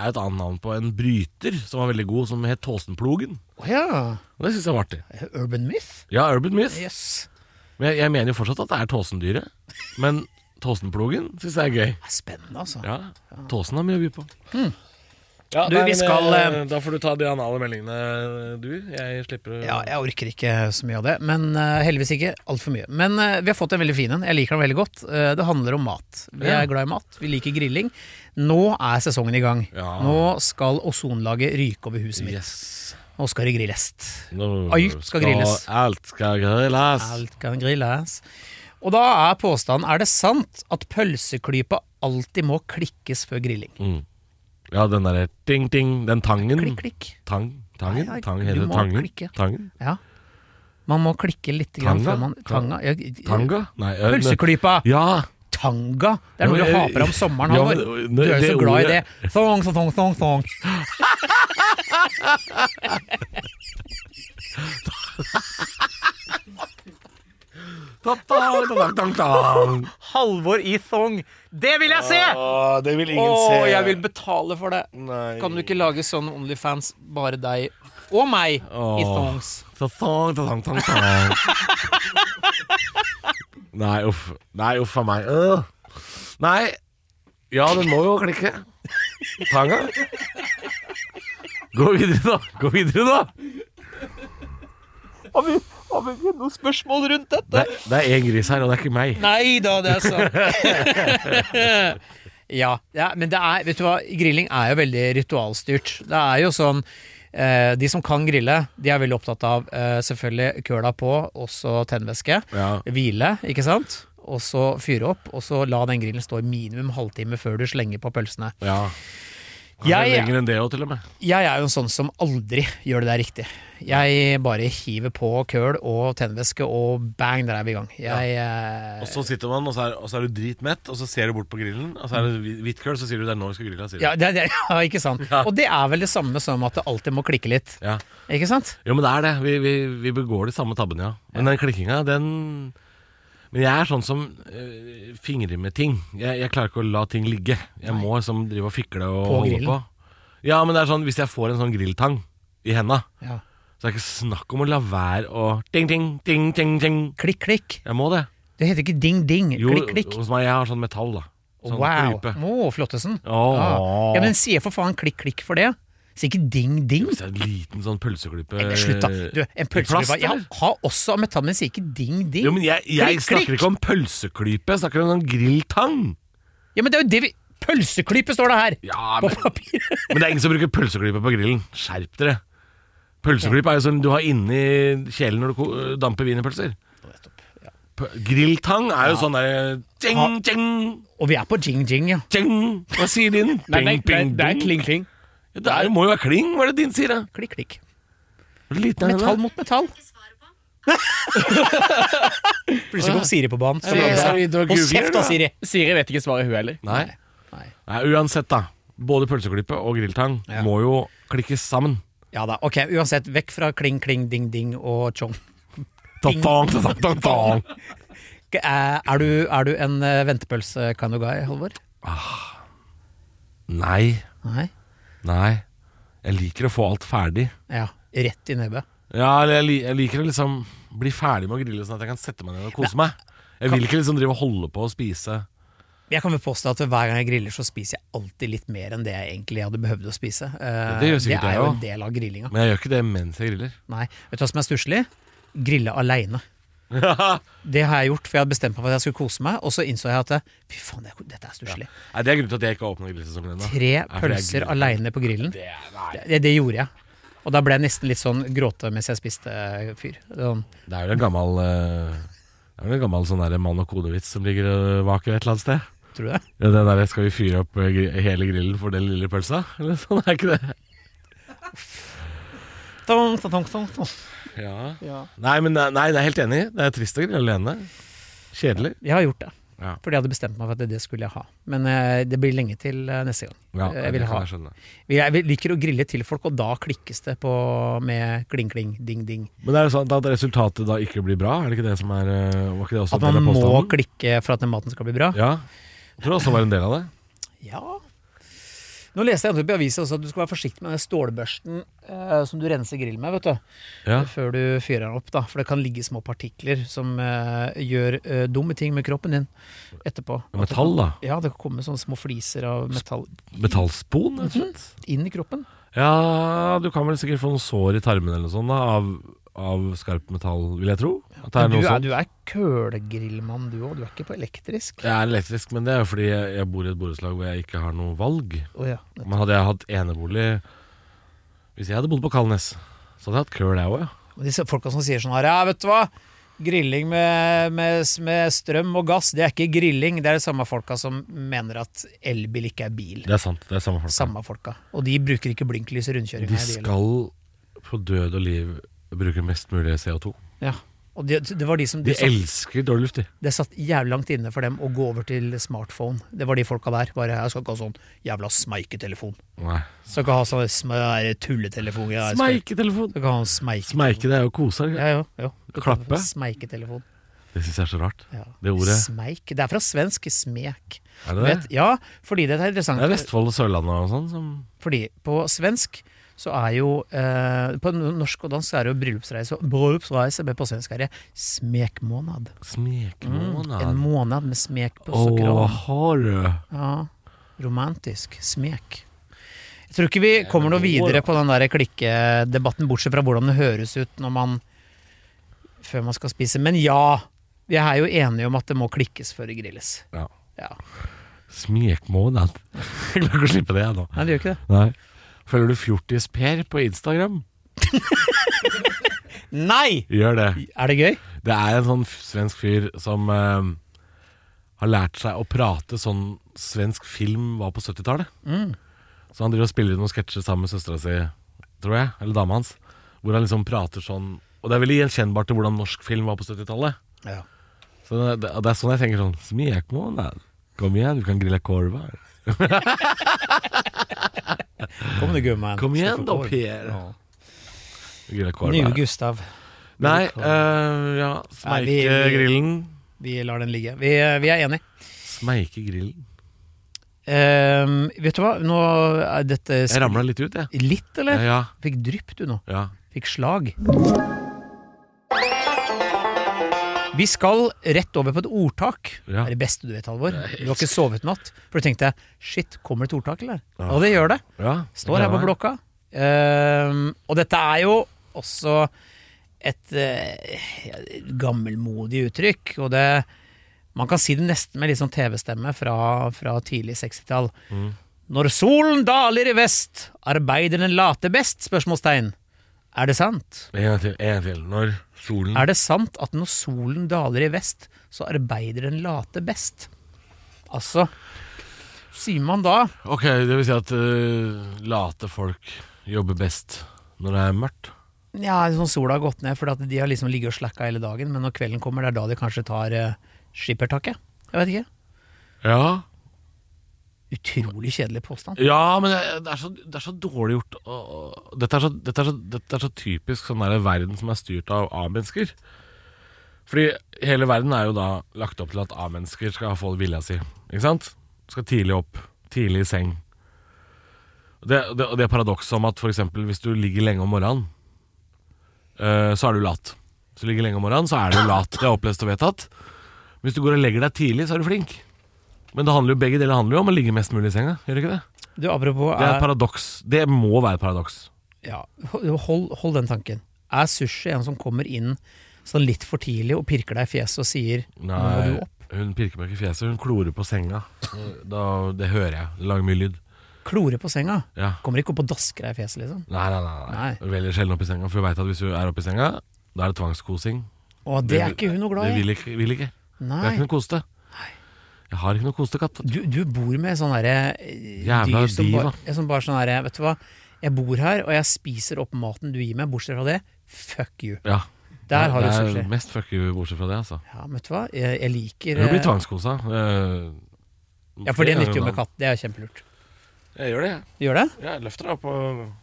Speaker 2: et annet navn på en bryter som var veldig god, som het Tåsenplogen.
Speaker 3: Å ja.
Speaker 2: Og det syns jeg var artig.
Speaker 3: Urban myth?
Speaker 2: Ja, Urban Myth.
Speaker 3: Yes.
Speaker 2: Men jeg, jeg mener jo fortsatt at det er Tåsendyret. Men Tåsenplogen syns jeg er gøy.
Speaker 3: Det er spennende, altså.
Speaker 2: Ja, Tåsen har mye å by på. Ja,
Speaker 3: Hmm. Du,
Speaker 2: nei,
Speaker 3: vi
Speaker 2: men,
Speaker 3: skal,
Speaker 2: eh, Da får du ta de anale meldingene, eh, du. Jeg slipper å
Speaker 3: Ja, jeg orker ikke så mye av det, men eh, heldigvis ikke altfor mye. Men eh, vi har fått en veldig fin en, jeg liker den veldig godt. Eh, det handler om mat. Vi
Speaker 2: Ja.
Speaker 3: er glad i mat, vi liker grilling. Nå er sesongen i gang.
Speaker 2: Ja.
Speaker 3: Nå skal ozonlaget ryke over huset mitt.
Speaker 2: Yes.
Speaker 3: Nå skal det grillest.
Speaker 2: Nå
Speaker 3: Alt skal grilles.
Speaker 2: Alt skal grilles.
Speaker 3: Alt kan grilles. Og da er påstanden er det sant at pølseklypa alltid må klikkes før grilling.
Speaker 2: Mm. Ja, den derre ting-ting, den tangen.
Speaker 3: Klikk, klikk.
Speaker 2: Tang, tangen,
Speaker 3: Nei, nei,
Speaker 2: tang,
Speaker 3: du
Speaker 2: heter det
Speaker 3: må
Speaker 2: tangen.
Speaker 3: klikke.
Speaker 2: tangen.
Speaker 3: Ja. Man må klikke litt grann
Speaker 2: Tanga?
Speaker 3: før man Tanga? Ja,
Speaker 2: Tanga? Nei, eh,
Speaker 3: Pølseklypa!
Speaker 2: Ja,
Speaker 3: Tanga. Det
Speaker 2: Ja,
Speaker 3: er noe
Speaker 2: men
Speaker 3: du
Speaker 2: jeg-
Speaker 3: haper om sommeren,
Speaker 2: Ja,
Speaker 3: Halvor.
Speaker 2: men
Speaker 3: Du er jo
Speaker 2: det
Speaker 3: så glad i det.
Speaker 2: ordet-
Speaker 3: Thong, thong, thong, thong, thong.
Speaker 2: Ta, ta, ta, ta, tang, tang.
Speaker 3: Halvor i thong. Det vil jeg se!
Speaker 2: Å, Ah, det vil
Speaker 3: Å,
Speaker 2: ingen se.
Speaker 3: jeg vil betale for det.
Speaker 2: Nei.
Speaker 3: Kan du ikke lage sånn Onlyfans, bare deg og meg,
Speaker 2: Åh.
Speaker 3: i thongs?
Speaker 2: Ta, ta, ta, tang, tang, tang. Nei, uff. Nei, uff a meg. Øh. Nei. Ja, den må jo klikke. Tanga. Gå videre, da. Gå videre, da.
Speaker 3: Har vi, har vi noen spørsmål rundt dette?
Speaker 2: Det, det er én gris her, og det er ikke meg.
Speaker 3: Nei da, det er sant. ja, ja, men det er, vet du hva, grilling er jo veldig ritualstyrt. Det er jo sånn eh, De som kan grille, de er veldig opptatt av eh, selvfølgelig køla på, også tennvæske.
Speaker 2: Ja.
Speaker 3: Hvile, ikke sant? Og så fyre opp, og så la den grillen stå i minimum halvtime før du slenger på pølsene.
Speaker 2: ja.
Speaker 3: Jeg-
Speaker 2: Jeg, lenger enn det òg, til og med.
Speaker 3: Jeg er jo en sånn som aldri gjør det der riktig. Jeg bare hiver på køl og tennvæske, og bang, der er vi i gang. Jeg, eh,
Speaker 2: Og så sitter man, og så er, og så er du dritmett, og så ser du bort på grillen, og så er det hvi- hvitt køl, så sier du det er nå vi skal grille. Sier du.
Speaker 3: Ja, det, det, ja, ikke sant.
Speaker 2: Ja.
Speaker 3: Og det er vel det samme som at det alltid må klikke litt.
Speaker 2: Ja.
Speaker 3: Ikke sant?
Speaker 2: Jo, men det er det. Vi, vi, vi begår de samme tabbene, ja. Men den klikkinga, den Men jeg er sånn som øh, fingrer med ting. Jeg, jeg klarer ikke å la ting ligge. Jeg må liksom drive og fikle og
Speaker 3: På
Speaker 2: holde
Speaker 3: grillen.
Speaker 2: på. Ja, men det er sånn hvis jeg får en sånn grilltang i henda,
Speaker 3: Ja.
Speaker 2: så er det ikke snakk om å la være å ting, ting, ting, ting, ting.
Speaker 3: Klikk, klikk.
Speaker 2: Jeg må det.
Speaker 3: Det heter ikke ding-ding.
Speaker 2: Jo,
Speaker 3: Klikk, klikk.
Speaker 2: hos meg jeg har sånn metall, da. Sånn
Speaker 3: wow.
Speaker 2: klype.
Speaker 3: Å, Flottesen.
Speaker 2: Åh.
Speaker 3: Ja. ja, men sier for faen klikk, klikk for det. Sier ikke ding-ding.
Speaker 2: Hvis det er en liten sånn pølseklype
Speaker 3: Slutt, da. Du, en
Speaker 2: Eh, plast,
Speaker 3: pølseklype Jeg
Speaker 2: eller?
Speaker 3: har også metall, men sier ikke ding-ding.
Speaker 2: Jo, men jeg, jeg
Speaker 3: Klikk,
Speaker 2: snakker
Speaker 3: klikk.
Speaker 2: ikke om pølseklype, jeg snakker om en grilltang.
Speaker 3: Ja, men det er jo det vi Pølseklype står det her!
Speaker 2: Ja,
Speaker 3: På
Speaker 2: men,
Speaker 3: papiret.
Speaker 2: men det er ingen som bruker pølseklype på grillen. Skjerp dere. Pølseklype er jo sånn du har inni kjelen når du ko- damper wienerpølser. P- Grilltang er jo sånn der Tjeng, tjeng,
Speaker 3: Og vi er på jing-jing, ja.
Speaker 2: tjeng. Hva sier din? Ping, ping, dong.
Speaker 3: kling-kling.
Speaker 2: Ja, Det er- må jo være kling. Hva er det din sier, da?
Speaker 3: Klikk, klikk.
Speaker 2: Hvor liten er den,
Speaker 3: Metall
Speaker 2: da?
Speaker 3: mot metall. Plutselig kom Siri på banen.
Speaker 2: vi- er vi ute og
Speaker 3: Hold
Speaker 2: googler,
Speaker 3: kjeft
Speaker 2: da?
Speaker 3: da, Siri!
Speaker 1: Siri vet ikke svaret, hun heller.
Speaker 2: Nei.
Speaker 3: Nei.
Speaker 2: Nei, uansett, da. Både pølseklype og grilltang
Speaker 3: Ja.
Speaker 2: må jo klikkes sammen.
Speaker 3: Ja da, ok, uansett, vekk fra kling, kling, ding, ding og chong. Ding.
Speaker 2: Ta-tang, ta-tang, ta-tang.
Speaker 3: Ok, Er, eh, er, du, er du en eh, ventepølse kind of guy, Halvor?
Speaker 2: Nei,
Speaker 3: Nei?
Speaker 2: nei. Jeg liker å få alt ferdig.
Speaker 3: Ja, rett i nebbet.
Speaker 2: Ja, eller jeg, li jeg liker å liksom bli ferdig med å grille, sånn at jeg kan sette meg ned og kose meg. Jeg vil ikke liksom drive og holde på og spise.
Speaker 3: Jeg kan vel påstå at hver gang jeg griller, så spiser jeg alltid litt mer enn det jeg egentlig hadde behøvd å spise. Eh,
Speaker 2: det gjør sikkert
Speaker 3: det
Speaker 2: jeg
Speaker 3: er jo
Speaker 2: også.
Speaker 3: en del av grillinga.
Speaker 2: Men jeg gjør ikke det mens jeg griller.
Speaker 3: Nei, vet du hva som er stusslig? Grille aleine.
Speaker 2: Nei,
Speaker 3: Det har jeg gjort, for jeg hadde bestemt meg for at jeg skulle kose meg, og så innså jeg at eh, fy faen, det er- dette er stusslig.
Speaker 2: Det er grunnen til at jeg ikke har åpna grillsesongen ennå.
Speaker 3: Tre
Speaker 2: fordi jeg
Speaker 3: pølser
Speaker 2: griller.
Speaker 3: aleine på grillen.
Speaker 2: Det er- nei,
Speaker 3: Det, det gjorde jeg. Og da ble jeg nesten litt sånn gråte mens jeg spiste eh, fyr. Sånn.
Speaker 2: det er jo en gammel eh, Det er vel en gammel sånn der mann og kone-vits som ligger og vaker et eller annet sted.
Speaker 3: Tror du det?
Speaker 2: Ja, den der, Skal vi fyre opp eh, gri- hele grillen for den lille pølsa? Eller sånn, er ikke det?
Speaker 3: Tong, tong, tong, tong, tong.
Speaker 2: Ja.
Speaker 3: Ja.
Speaker 2: Nei, men det er- nei, jeg er helt enig. Det er trist å grille alene. Kjedelig.
Speaker 3: Jeg har gjort det.
Speaker 2: Ja.
Speaker 3: Fordi jeg hadde bestemt meg for at det skulle jeg ha. Men eh, det blir lenge til eh, neste gang.
Speaker 2: Ja,
Speaker 3: jeg vil
Speaker 2: det kan
Speaker 3: ha.
Speaker 2: jeg skjønne.
Speaker 3: Jeg vil- liker å grille til folk, og da klikkes det på med kling-kling, ding-ding.
Speaker 2: Men det er jo sånn at resultatet da ikke blir bra? Er det ikke det som er eh, Var ikke det også
Speaker 3: At
Speaker 2: en
Speaker 3: man
Speaker 2: del av
Speaker 3: må
Speaker 2: påstanden?
Speaker 3: klikke for at den maten skal bli bra.
Speaker 2: Ja. Jeg tror det også var en del av det.
Speaker 3: Ja. Nå leste jeg nettopp i avisa også at du skal være forsiktig med den stålbørsten eh, som du renser grillen med, vet du.
Speaker 2: Ja.
Speaker 3: Før du fyrer den opp, da. For det kan ligge små partikler som eh, gjør eh, dumme ting med kroppen din etterpå.
Speaker 2: Metall, da.
Speaker 3: Ja, det kan komme sånne små fliser av metall
Speaker 2: Metallspon, rett og slett.
Speaker 3: inn i kroppen.
Speaker 2: Ja, du kan vel sikkert få noen sår i tarmen eller noe sånt da, av, av skarpt metall, vil jeg tro. At det er
Speaker 3: Men
Speaker 2: noe
Speaker 3: du, er,
Speaker 2: sånt.
Speaker 3: du er kølegrillmann du òg, du er ikke på elektrisk.
Speaker 2: Jeg er elektrisk, men det er jo fordi jeg, jeg bor i et borettslag hvor jeg ikke har noe valg.
Speaker 3: Å ja.
Speaker 2: Men hadde jeg hatt enebolig Hvis jeg hadde bodd på Kalnes, så hadde jeg hatt køl, jeg òg, ja.
Speaker 3: Og disse folka som sier sånn her, ja, vet du hva? Grilling med, med, med strøm og gass, det er ikke grilling. Det er de samme folka som mener at elbil ikke er bil.
Speaker 2: Det er sant. Det er samme folk.
Speaker 3: Samme folka. Og de bruker ikke blinklys i rundkjøringa.
Speaker 2: De
Speaker 3: i bilen.
Speaker 2: skal på død og liv bruke mest mulig CO2.
Speaker 3: Ja. Og det, det var de som
Speaker 2: De
Speaker 3: det satt,
Speaker 2: elsker dårlig luft, de.
Speaker 3: det satt jævlig langt inne for dem å gå over til smartphone. Det var de folka der. Bare jeg skal ikke ha sånn jævla smeiketelefon.
Speaker 2: Nei.
Speaker 3: Skal ikke ha sånn sm- tulletelefon. Jeg skal-
Speaker 2: Smeiketelefon!
Speaker 3: Skal ikke ha en smeike...
Speaker 2: Smeike, det er jo kose.
Speaker 3: Ja, ja, ja.
Speaker 2: Klappe.
Speaker 3: Smeiketelefon.
Speaker 2: Det syns jeg er så rart.
Speaker 3: Ja.
Speaker 2: Det ordet.
Speaker 3: Smeik. Det er fra svensk smek.
Speaker 2: Er det
Speaker 3: Vet,
Speaker 2: det?
Speaker 3: ja, fordi det er
Speaker 2: Det er
Speaker 3: interessant.
Speaker 2: Vestfold og Sørlandet og sånn som
Speaker 3: Fordi på svensk så er jo eh, På norsk og dansk så er det jo bryllupsreise. og Bryllupsreise, men på svensk er det smekmåned. En
Speaker 2: Smekmånad.
Speaker 3: måned med smek Mm, på
Speaker 2: Åh,
Speaker 3: sokran.
Speaker 2: har du
Speaker 3: Ja, romantisk. Smek. Jeg tror ikke vi kommer
Speaker 2: men
Speaker 3: noe
Speaker 2: nå,
Speaker 3: videre
Speaker 2: da.
Speaker 3: på den der klikkedebatten, bortsett fra hvordan det høres ut når man før man skal spise. Men ja, vi er jo enige om at det må klikkes før det grilles.
Speaker 2: ja.
Speaker 3: Ja.
Speaker 2: Smekmånad. Jeg klarer ikke å slippe det, jeg nå.
Speaker 3: Nei, det gjør ikke det.
Speaker 2: Nei. Følger du Fjortis-Per på Instagram?
Speaker 3: Nei!
Speaker 2: Gjør det.
Speaker 3: Er det gøy?
Speaker 2: Det er en sånn f- svensk fyr som eh, har lært seg å prate sånn svensk film var på 70-tallet.
Speaker 3: Mm.
Speaker 2: Så han driver og spiller noen sketsjer sammen med søstera si, tror jeg, eller dama hans, hvor han liksom prater sånn Og det er veldig gjenkjennbart til hvordan norsk film var på 70-tallet.
Speaker 3: Ja.
Speaker 2: Så det, det, det er sånn jeg tenker sånn Smekmånad. Kom igjen, du kan grille korva.
Speaker 3: Kom du, gumman.
Speaker 2: Kom igjen
Speaker 3: Skal
Speaker 2: da,
Speaker 3: få gå.
Speaker 2: Per.
Speaker 3: Ja.
Speaker 2: Grille
Speaker 3: Nye
Speaker 2: korva.
Speaker 3: Gustav.
Speaker 2: Nei, eh, ja
Speaker 3: Nei, vi- vi-
Speaker 2: Smeikegrillen.
Speaker 3: Vi lar den ligge. Vi, vi er enige.
Speaker 2: Smeikegrillen.
Speaker 3: Ehm, vet du hva, nå er dette
Speaker 2: Jeg ramla litt ut, jeg.
Speaker 3: Litt,
Speaker 2: Ja,
Speaker 3: eller?
Speaker 2: ja,
Speaker 3: Fikk drypp du nå.
Speaker 2: ja.
Speaker 3: Fikk slag. Vi skal rett over på et ordtak.
Speaker 2: Ja.
Speaker 3: Det er det beste du vet, Halvor. Du har ikke sovet natt. For du tenkte shit, kommer det et ordtak, eller?
Speaker 2: Ja.
Speaker 3: Og det gjør det.
Speaker 2: ja.
Speaker 3: Står her på
Speaker 2: Ja.
Speaker 3: blokka. Ehm, og dette er jo også et eh, ja, gammelmodig uttrykk. Og det Man kan si det nesten med litt sånn TV-stemme fra, fra tidlig 60-tall. Når solen daler i vest, arbeider den late best? Spørsmålstegn. Er det sant?
Speaker 2: En gang til. En gang til. Når solen
Speaker 3: Er det sant at når solen daler i vest, så arbeider den late best? Altså Sier man da
Speaker 2: Ok, det vil si at eh, late folk jobber best når det er mørkt.
Speaker 3: Ja, sånn sola har gått ned, for at de har liksom ligget og slakka hele dagen. Men når kvelden kommer, det er da de kanskje tar eh, skippertaket. Jeg vet ikke.
Speaker 2: Ja,
Speaker 3: Utrolig kjedelig påstand.
Speaker 2: ja men det det er, så, det er så dårlig gjort. å- å- Dette er så, dette er så, dette er så typisk sånn der verden som er styrt av A-mennesker. Fordi hele verden er jo da lagt opp til at A-mennesker skal få vilja si. Ikke sant? Skal tidlig opp, tidlig i seng. Og Det, det, og det paradokset om at f.eks. hvis du ligger lenge om morgenen, eh, så er du lat. Hvis du ligger lenge om morgenen, så er du lat. Det er opplest og vedtatt. Hvis du går og legger deg tidlig, så er du flink. Men det handler jo, begge deler handler jo om å ligge mest mulig i senga. Gjør det ikke det?
Speaker 3: Du, apropos
Speaker 2: Det er et
Speaker 3: er,
Speaker 2: paradoks. Det må være et paradoks.
Speaker 3: ja, ho- hold, hold den tanken. Er sushi en som kommer inn sånn litt for tidlig og pirker deg i fjeset og sier Nå må du
Speaker 2: Nei,
Speaker 3: opp.
Speaker 2: hun pirker meg ikke i fjeset, hun klorer på senga. Da, det hører jeg. Det lager mye lyd.
Speaker 3: Klore på senga.
Speaker 2: Ja.
Speaker 3: Kommer ikke opp og dasker deg i fjeset, liksom.
Speaker 2: Nei, nei, nei. nei.
Speaker 3: Nei.
Speaker 2: Hun velger sjelden opp i senga, for hun veit at hvis hun er oppe i senga, da er det tvangskosing.
Speaker 3: Å, det er ikke hun noe
Speaker 2: Det
Speaker 3: glad i.
Speaker 2: vil ikke. Vil ikke. Jeg har
Speaker 3: Nei.
Speaker 2: ikke noe koste. Jeg har ikke noe kostekatt.
Speaker 3: Du, du bor med sånn derre eh,
Speaker 2: Jævla
Speaker 3: dyr som
Speaker 2: diva.
Speaker 3: bare, som bare sånn derre Vet du hva, Jeg bor her, og jeg spiser opp maten du gir meg. Bortsett fra det, fuck you.
Speaker 2: Ja.
Speaker 3: Der har du
Speaker 2: det er
Speaker 3: sushi.
Speaker 2: mest fucky bortsett fra det, altså.
Speaker 3: Ja, men vet du hva, jeg, jeg liker
Speaker 2: Du blir
Speaker 3: eh,
Speaker 2: tvangskosa. eh,
Speaker 3: Ja, for det
Speaker 2: flere
Speaker 3: nytter
Speaker 2: ganger om
Speaker 3: jo med
Speaker 2: dagen.
Speaker 3: katt. Det er kjempelurt.
Speaker 2: Jeg gjør det, jeg.
Speaker 3: Du gjør det?
Speaker 2: Jeg løfter deg opp og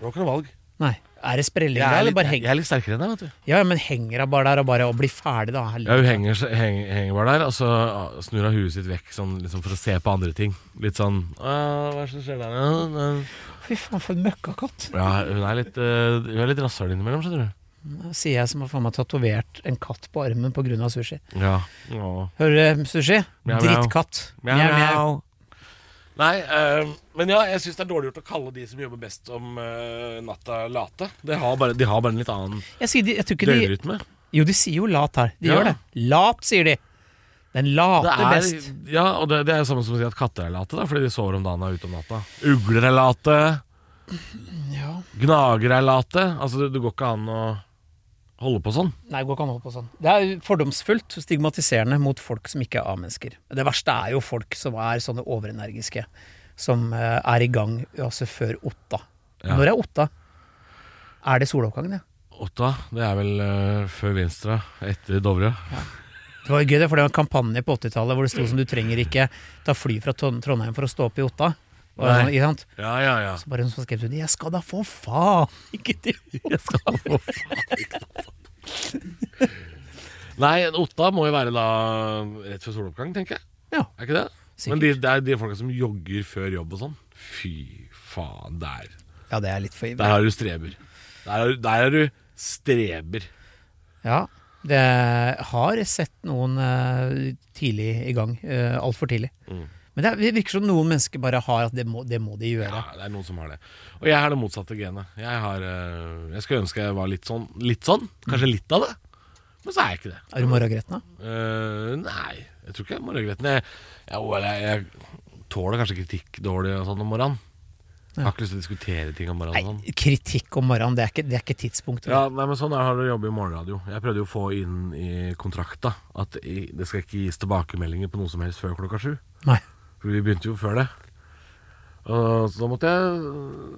Speaker 2: Du har ikke noe valg.
Speaker 3: Nei. Er det sprelling
Speaker 2: Jeg
Speaker 3: da,
Speaker 2: er
Speaker 3: eller
Speaker 2: litt,
Speaker 3: bare henger
Speaker 2: jeg er litt sterkere enn deg, vet du.
Speaker 3: Ja, ja, men henger hun bare der og bare og blir ferdig, da?
Speaker 2: Ja,
Speaker 3: Helvete.
Speaker 2: hun henger, seg- heng, henger bare der, og så ah, snur hun huet sitt vekk sånn, liksom for å se på andre ting. Litt sånn «Ah, Hva er det som skjer der? Ja,
Speaker 3: Fy faen, for en møkkakatt.
Speaker 2: ja, hun er litt, eh, hun er litt rasshøl innimellom, skjønner du.
Speaker 3: Sier jeg som har faen meg tatovert en katt på armen pga. sushi.
Speaker 2: Ja. Åh.
Speaker 3: Hører du, eh, sushi?
Speaker 2: Mjau, mjau.
Speaker 3: Drittkatt.
Speaker 2: Mjau,
Speaker 3: Mjau, mjau.
Speaker 2: mjau. Nei, eh, men ja, jeg syns det er dårlig gjort å kalle de som jobber best om eh, natta, late. De har bare, de har bare en litt annen
Speaker 3: Jeg, sier de, jeg tror ikke de
Speaker 2: døgnrytme.
Speaker 3: Jo, de sier jo lat her. De
Speaker 2: Ja.
Speaker 3: gjør det. Lat, sier de. Den later
Speaker 2: Det er,
Speaker 3: best.
Speaker 2: ja, og det, det er jo samme som å si at katter er late, da, fordi de sover om dagen og er ute om natta. Ugler er late,
Speaker 3: Ja.
Speaker 2: gnager er late. Altså, det, det går ikke an å holde på sånn.
Speaker 3: Nei, det går ikke an å holde på sånn. Det er fordomsfullt og stigmatiserende mot folk som ikke er A-mennesker. Det verste er jo folk som er sånne overenergiske, som eh, er i gang altså før åtta.
Speaker 2: Ja.
Speaker 3: Når er åtta? Er det soloppgangen, ja?
Speaker 2: Otta, det er vel eh, før Vinstra, etter Dovre.
Speaker 3: Det var jo gøy, det, for det var en kampanje på 80-tallet hvor det sto som du trenger ikke ta fly fra Trond- Trondheim for å stå opp i åtta. Og
Speaker 2: Nei.
Speaker 3: sånn, ikke sant?
Speaker 2: Ja, ja, ja.
Speaker 3: Så bare hun som skrev ut Jeg skal da for faen ikke til Jeg skal for faen
Speaker 2: Nei, Otta må jo være da rett før soloppgang, tenker jeg.
Speaker 3: Ja,
Speaker 2: Er ikke det?
Speaker 3: Sikkert.
Speaker 2: Men de, det er de folka som jogger før jobb og sånn. Fy faen, der.
Speaker 3: ja det er litt for ivrig.
Speaker 2: Der har du streber. Der har, der har du streber.
Speaker 3: Ja, det har sett noen eh, tidlig i gang. Uh, Altfor tidlig.
Speaker 2: Mm.
Speaker 3: Men det er- det virker som noen mennesker bare har at det må, det må de
Speaker 2: Ja,
Speaker 3: gjøre.
Speaker 2: det er noen som har det. Og jeg har det motsatte genet. Jeg, har, eh, jeg skulle ønske jeg var litt sånn. Litt sånn. Kanskje litt av det. Men så er jeg ikke det.
Speaker 3: Er du morgengretten, da?
Speaker 2: Eh, nei, jeg tror ikke jeg er morgengretten. Jeg, jeg, å, jeg, jeg tåler kanskje kritikk dårlig og sånn om morgenen. Jeg har ikke lyst til å diskutere ting om morgenen. og Sånn.
Speaker 3: Nei, kritikk om morgenen, det er ikke, det er ikke tidspunktet.
Speaker 2: Ja, nei, men sånn er det å jobbe i morgenradio. Jeg prøvde jo å få inn i kontrakta at i- det skal ikke gis tilbakemeldinger på noe som helst før klokka sju.
Speaker 3: Nei.
Speaker 2: For vi begynte jo før det. Og så da måtte jeg,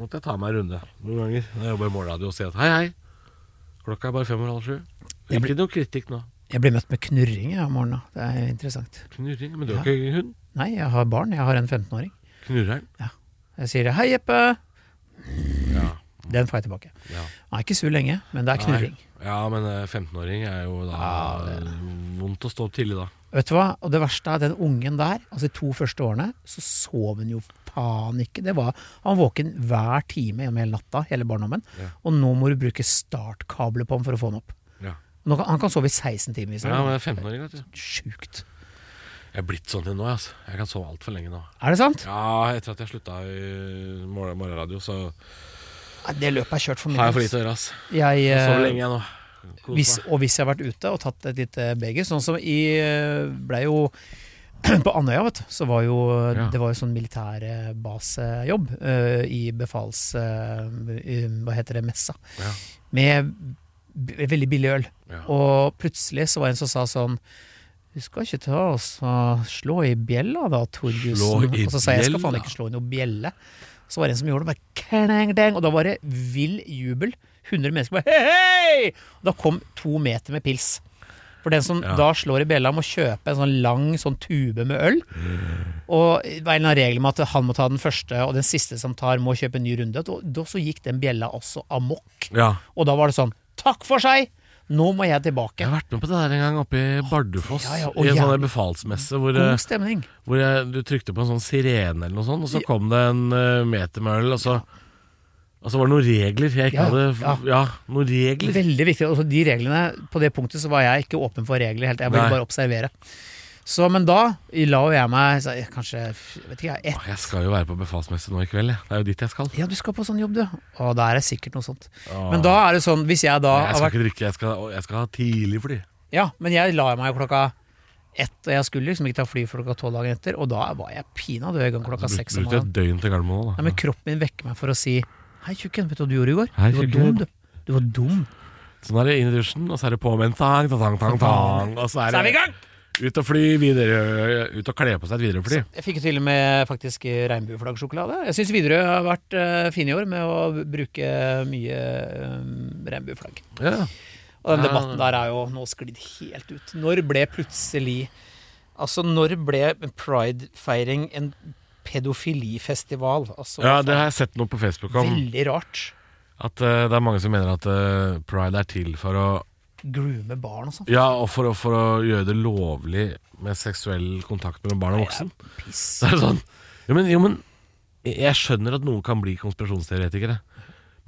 Speaker 2: måtte jeg ta meg en runde noen ganger når jeg jobber i morgenradio og si at hei, hei, klokka er bare fem over halv sju. Det
Speaker 3: Jeg
Speaker 2: blir noe kritikk nå.
Speaker 3: Jeg blir møtt med knurring jeg, om morgenen. Det er interessant.
Speaker 2: Knurring. Men du har ikke hund?
Speaker 3: Nei, jeg har barn. Jeg har en 15-åring.
Speaker 2: Knurrer den?
Speaker 3: Jeg sier 'hei, Jeppe'.
Speaker 2: Ja.
Speaker 3: Den får jeg tilbake.
Speaker 2: Ja.
Speaker 3: Han er ikke sur lenge, men det er knurring.
Speaker 2: Nei. Ja, men eh, 15-åring er jo da vondt å stå opp tidlig da.
Speaker 3: Vet du hva? Og det verste er den ungen der, altså de to første årene, så sov hun jo faen ikke. Det var, han var våken hver time gjennom hele natta, hele barndommen.
Speaker 2: Ja.
Speaker 3: Og nå må du bruke startkabler på ham for å få han opp.
Speaker 2: Ja,
Speaker 3: Nå kan, han kan sove i 16 timer. hvis han
Speaker 2: ja
Speaker 3: vil.
Speaker 2: men 15-åring, vet du.
Speaker 3: Sjukt.
Speaker 2: Jeg er blitt sånn til nå, altså. Jeg kan sove altfor lenge nå.
Speaker 3: Er det sant?
Speaker 2: Ja, etter at jeg slutta i morgen- morgenradio, så
Speaker 3: Nei, Det løpet er kjørt for min
Speaker 2: har jeg for
Speaker 3: del,
Speaker 2: lite å gjøre, ass.
Speaker 3: ass. Jeg,
Speaker 2: Jeg
Speaker 3: eh,
Speaker 2: sover lenge, jeg nå. Kos
Speaker 3: hvis,
Speaker 2: meg.
Speaker 3: og hvis jeg har vært ute og tatt et lite beger, sånn som i eh, ble jo på Andøya, vet du, så var jo
Speaker 2: Ja.
Speaker 3: det var jo sånn militærbasejobb eh, i befals... eh, i, hva heter det, messa.
Speaker 2: Ja.
Speaker 3: Med b veldig billig øl.
Speaker 2: Ja.
Speaker 3: Og plutselig så var det en som sa sånn du skal ikke ta oss og slå i bjella da, Torjussen.
Speaker 2: Slå i
Speaker 3: Og så sa jeg jeg skal faen
Speaker 2: bjella."
Speaker 3: ikke slå i noe bjelle. Så var det en som gjorde det, bare kneng, deng, og da var det vill jubel. 100 mennesker bare hei, hei! Og da kom to meter med pils. For den som
Speaker 2: Ja.
Speaker 3: da slår i bjella, må kjøpe en sånn lang sånn tube med øl. Og det var en eller annen regel med at han må ta den første, og den siste som tar, må kjøpe en ny runde. Og da så gikk den bjella også amok.
Speaker 2: ja.
Speaker 3: Og da var det sånn Takk for seg! Nå må jeg tilbake.
Speaker 2: Jeg har vært med på det der en gang oppe i Bardufoss.
Speaker 3: Ja, ja,
Speaker 2: I
Speaker 3: og
Speaker 2: en sånn
Speaker 3: jævlig-
Speaker 2: der befalsmesse hvor, eh,
Speaker 3: God stemning.
Speaker 2: hvor jeg, du trykte på en sånn sirene eller noe sånt, og så kom det en eh, meter med øl, og så Og så var det noen regler jeg ikke
Speaker 3: Ja,
Speaker 2: hadde
Speaker 3: ja.
Speaker 2: f- Ja, noen regler.
Speaker 3: Veldig viktig. Altså, de reglene, på det punktet så var jeg ikke åpen for regler helt. Jeg ville
Speaker 2: Nei.
Speaker 3: bare observere. Så, men da la jo jeg meg så, jeg- kanskje jeg vet ikke, jeg, ett
Speaker 2: Åh, Jeg skal jo være på befalsmesse nå i kveld, jeg. Det er jo dit jeg skal.
Speaker 3: Ja, du skal på sånn jobb, du. Og da er det sikkert noe sånt.
Speaker 2: Åh.
Speaker 3: Men da er det sånn, hvis jeg
Speaker 2: jeg
Speaker 3: da har
Speaker 2: skal
Speaker 3: vært
Speaker 2: ikke drikke, jeg skal, jeg skal ha tidlig fly.
Speaker 3: Ja, men jeg la meg jo klokka ett, og jeg skulle liksom ikke ta fly for klokka tolv dagen etter, og da var jeg pinadø i gang klokka
Speaker 2: Så bruk-
Speaker 3: seks om
Speaker 2: Brukte jeg
Speaker 3: morgenen.
Speaker 2: et døgn til Gardermoen òg, da.
Speaker 3: Nei, men kroppen min vekker meg for å si Hei, tjukken, vet du hva du gjorde i går?
Speaker 2: Hei,
Speaker 3: du var
Speaker 2: tjukken.
Speaker 3: dum, du. Du var dum.
Speaker 2: Sånn er det inn i dusjen, og så er det på med en tang, tang, tang, tang, og så er det
Speaker 3: Så er vi i gang!
Speaker 2: Ut og fly videre øh, Ut og kle på seg et Widerøe-fly.
Speaker 3: Jeg fikk jo til og med faktisk regnbueflaggsjokolade. Jeg syns Widerøe har vært eh, fine i år med å bruke mye eh, regnbueflagg.
Speaker 2: Ja.
Speaker 3: Og den
Speaker 2: Ja.
Speaker 3: debatten der er jo nå sklidd helt ut. Når ble plutselig Altså, når ble pridefeiring en pedofilifestival? Altså,
Speaker 2: ja, det har jeg sett noe på Facebook om.
Speaker 3: Veldig rart.
Speaker 2: At eh, det er mange som mener at eh, pride er til for å
Speaker 3: Groome barn og sånn.
Speaker 2: Ja, og for, å- for å gjøre det lovlig med seksuell kontakt mellom barn og voksen.
Speaker 3: Piss.
Speaker 2: Så er det sånn Jo, men, jo, men jeg skjønner at noen kan bli konspirasjonsteoretikere.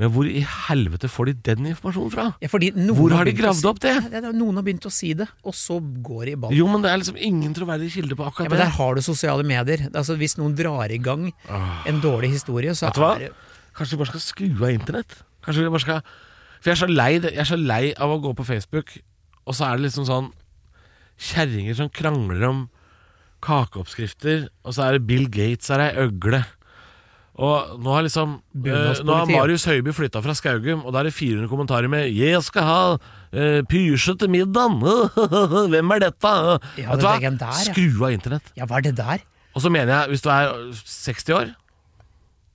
Speaker 2: Men hvor i helvete får de den informasjonen fra?
Speaker 3: Ja, fordi noen
Speaker 2: Hvor har de
Speaker 3: begynt å
Speaker 2: gravd
Speaker 3: si-
Speaker 2: opp det?
Speaker 3: Ja, det er- Noen har begynt å si det, og så går det i ball.
Speaker 2: Jo, men det er liksom ingen troverdig kilde på
Speaker 3: Ja,
Speaker 2: akkurat
Speaker 3: men
Speaker 2: det.
Speaker 3: der har du sosiale medier. Altså, hvis noen drar i gang en dårlig historie,
Speaker 2: Ah.
Speaker 3: så
Speaker 2: Vet du hva?
Speaker 3: er det
Speaker 2: Kanskje vi bare skal skru av internett? Kanskje vi bare skal For jeg er så lei, det- jeg er så lei av å gå på Facebook, og så er det liksom sånn kjerringer som krangler om kakeoppskrifter, og så er det Bill Gates er ei øgle. Og nå har liksom eh,
Speaker 3: Bunadspolitiet.
Speaker 2: Nå har Marius Høiby flytta fra Skaugum, og da er det 400 kommentarer med 'Jeg skal ha uh, pysje til middagen', hvem er dette?
Speaker 3: Ja,
Speaker 2: Vet
Speaker 3: den
Speaker 2: du hva?
Speaker 3: legenden der, ja.
Speaker 2: Skru av internett.
Speaker 3: Ja, hva er det der?
Speaker 2: Og så mener jeg, hvis du er 60 år,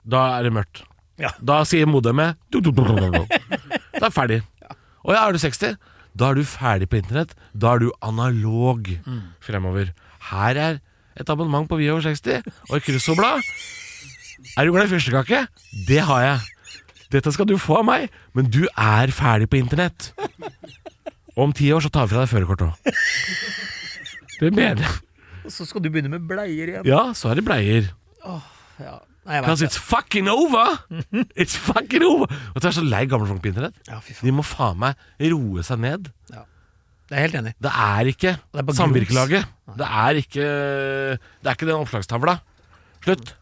Speaker 2: da er det mørkt.
Speaker 3: Ja.
Speaker 2: Da sier modemet du, du, du, du, du, du. Da er det ferdig. Og ja, er du 60, da er du ferdig på internett. Da er du analog fremover. Her er et abonnement på Vi over 60 og et kryssordblad. Er du glad i fyrstekake? Det har jeg. Dette skal du få av meg, men du er ferdig på internett. Og om ti år så tar vi fra deg førerkortet òg. Det mener jeg.
Speaker 3: Og så skal du begynne med bleier igjen.
Speaker 2: Ja, så er det bleier.
Speaker 3: Ja, Nei, jeg vet
Speaker 2: Because
Speaker 3: det.
Speaker 2: it's fucking over! It's fucking over! Og Jeg er så lei gamle folk på internett.
Speaker 3: Ja, fy faen.
Speaker 2: De må faen meg roe seg ned.
Speaker 3: Jeg er helt enig.
Speaker 2: Det er ikke
Speaker 3: Det er bare
Speaker 2: samvirkelaget. Det er ikke Det er ikke den oppslagstavla. Slutt.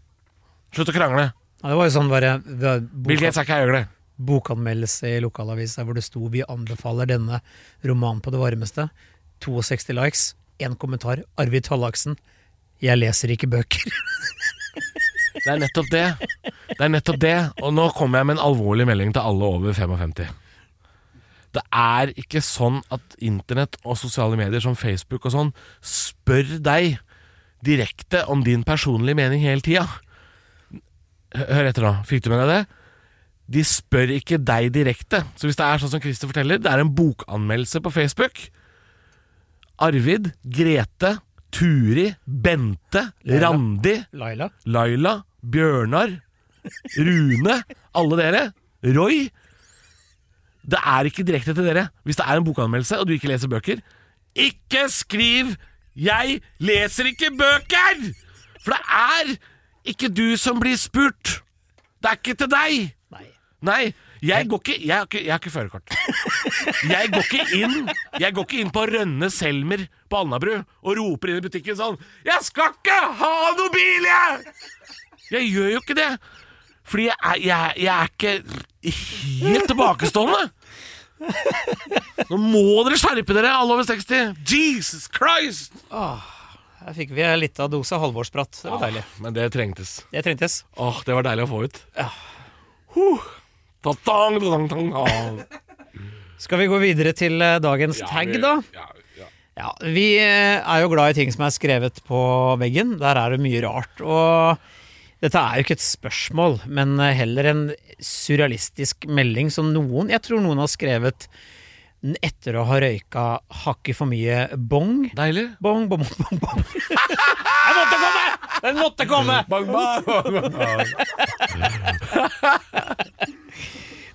Speaker 2: Slutt å krangle.
Speaker 3: Ja, det var jo sånn bare det var
Speaker 2: Bill
Speaker 3: boka,
Speaker 2: Gates er ikke ei øgle.
Speaker 3: Bokanmeldelse i lokalavisa hvor det sto 'Vi anbefaler denne romanen på det varmeste'. 62 likes, én kommentar. Arvid Tallaksen. 'Jeg leser ikke bøker'.
Speaker 2: Det er nettopp det. Det er nettopp det. Og nå kommer jeg med en alvorlig melding til alle over 55. Det er ikke sånn at internett og sosiale medier som Facebook og sånn spør deg direkte om din personlige mening hele tida. Hø- Hør etter nå. Fikk du med deg det? De spør ikke deg direkte. Så hvis det er sånn som Christer forteller, det er en bokanmeldelse på Facebook. Arvid, Grete, Turi, Bente,
Speaker 3: Leila.
Speaker 2: Randi,
Speaker 3: Laila?
Speaker 2: Laila, Bjørnar, Rune, alle dere, Roy. Det er ikke direkte til dere. Hvis det er en bokanmeldelse og du ikke leser bøker, ikke skriv 'Jeg leser ikke bøker'! For det er ikke du som blir spurt. Det er ikke til deg.
Speaker 3: Nei.
Speaker 2: Nei, jeg går ikke Jeg har ikke, jeg har ikke førerkort. Jeg går ikke inn Jeg går ikke inn på Rønne Selmer på Alnabru og roper inn i butikken sånn 'Jeg skal ikke ha noe bil, jeg!' Jeg gjør jo ikke det. Fordi jeg er, jeg, jeg er ikke helt tilbakestående. Nå må dere skjerpe dere, alle over 60. Jesus Christ!
Speaker 3: Her fikk vi en lita dose halvorsprat. Det var deilig.
Speaker 2: Men det trengtes.
Speaker 3: Det trengtes.
Speaker 2: Åh, det var deilig å få ut. Huh. Ta-tang, ta-tang, ta-tang.
Speaker 3: Skal vi gå videre til eh, dagens
Speaker 2: Ja,
Speaker 3: tag,
Speaker 2: vi-
Speaker 3: da?
Speaker 2: Ja, ja.
Speaker 3: Ja, Vi eh, er jo glad i ting som er skrevet på veggen. Der er det mye rart. Og dette er jo ikke et spørsmål, men eh, heller en surrealistisk melding som noen Jeg tror noen har skrevet n- etter å ha røyka hakket for mye bong.
Speaker 2: Deilig.
Speaker 3: Bong, bong, bong, bong. Den måtte komme! Den måtte komme!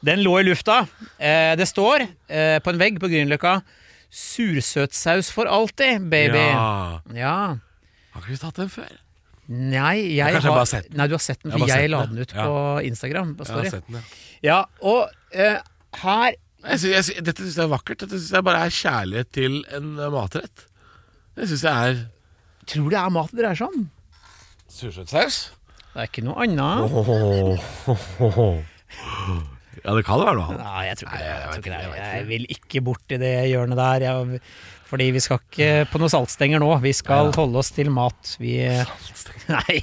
Speaker 3: Den lå i lufta. Eh, det står eh, på en vegg på Grünerløkka 'Sursøtsaus for alltid, baby'.
Speaker 2: Ja.
Speaker 3: Ja.
Speaker 2: Har ikke vi tatt den før?
Speaker 3: Nei, jeg
Speaker 2: Kanskje jeg
Speaker 3: har,
Speaker 2: bare har sett den.
Speaker 3: Nei, du har sett den,
Speaker 2: Jeg
Speaker 3: for
Speaker 2: har bare
Speaker 3: jeg,
Speaker 2: sett
Speaker 3: la
Speaker 2: den,
Speaker 3: den ut
Speaker 2: ja.
Speaker 3: på Instagram. På
Speaker 2: Jeg har
Speaker 3: story.
Speaker 2: sett den, ja.
Speaker 3: Ja, og eh, her
Speaker 2: Jeg sy- jeg sy- dette syns jeg er vakkert. Dette syns jeg bare er kjærlighet til en eh, matrett. Det syns jeg er
Speaker 3: Tror du det er mat det dreier seg om?
Speaker 2: Sursøtsaus.
Speaker 3: Det er ikke noe annet.
Speaker 2: Ja, det kan det være noe annet.
Speaker 3: Nei, jeg tror ikke det.
Speaker 2: Nei, jeg vet
Speaker 3: Jeg, tror
Speaker 2: ikke,
Speaker 3: ikke
Speaker 2: jeg
Speaker 3: det.
Speaker 2: vet
Speaker 3: jeg vil ikke bort i det hjørnet der. Jeg, fordi vi skal ikke på noen saltstenger nå. Vi skal holde oss til mat. Vi Nei,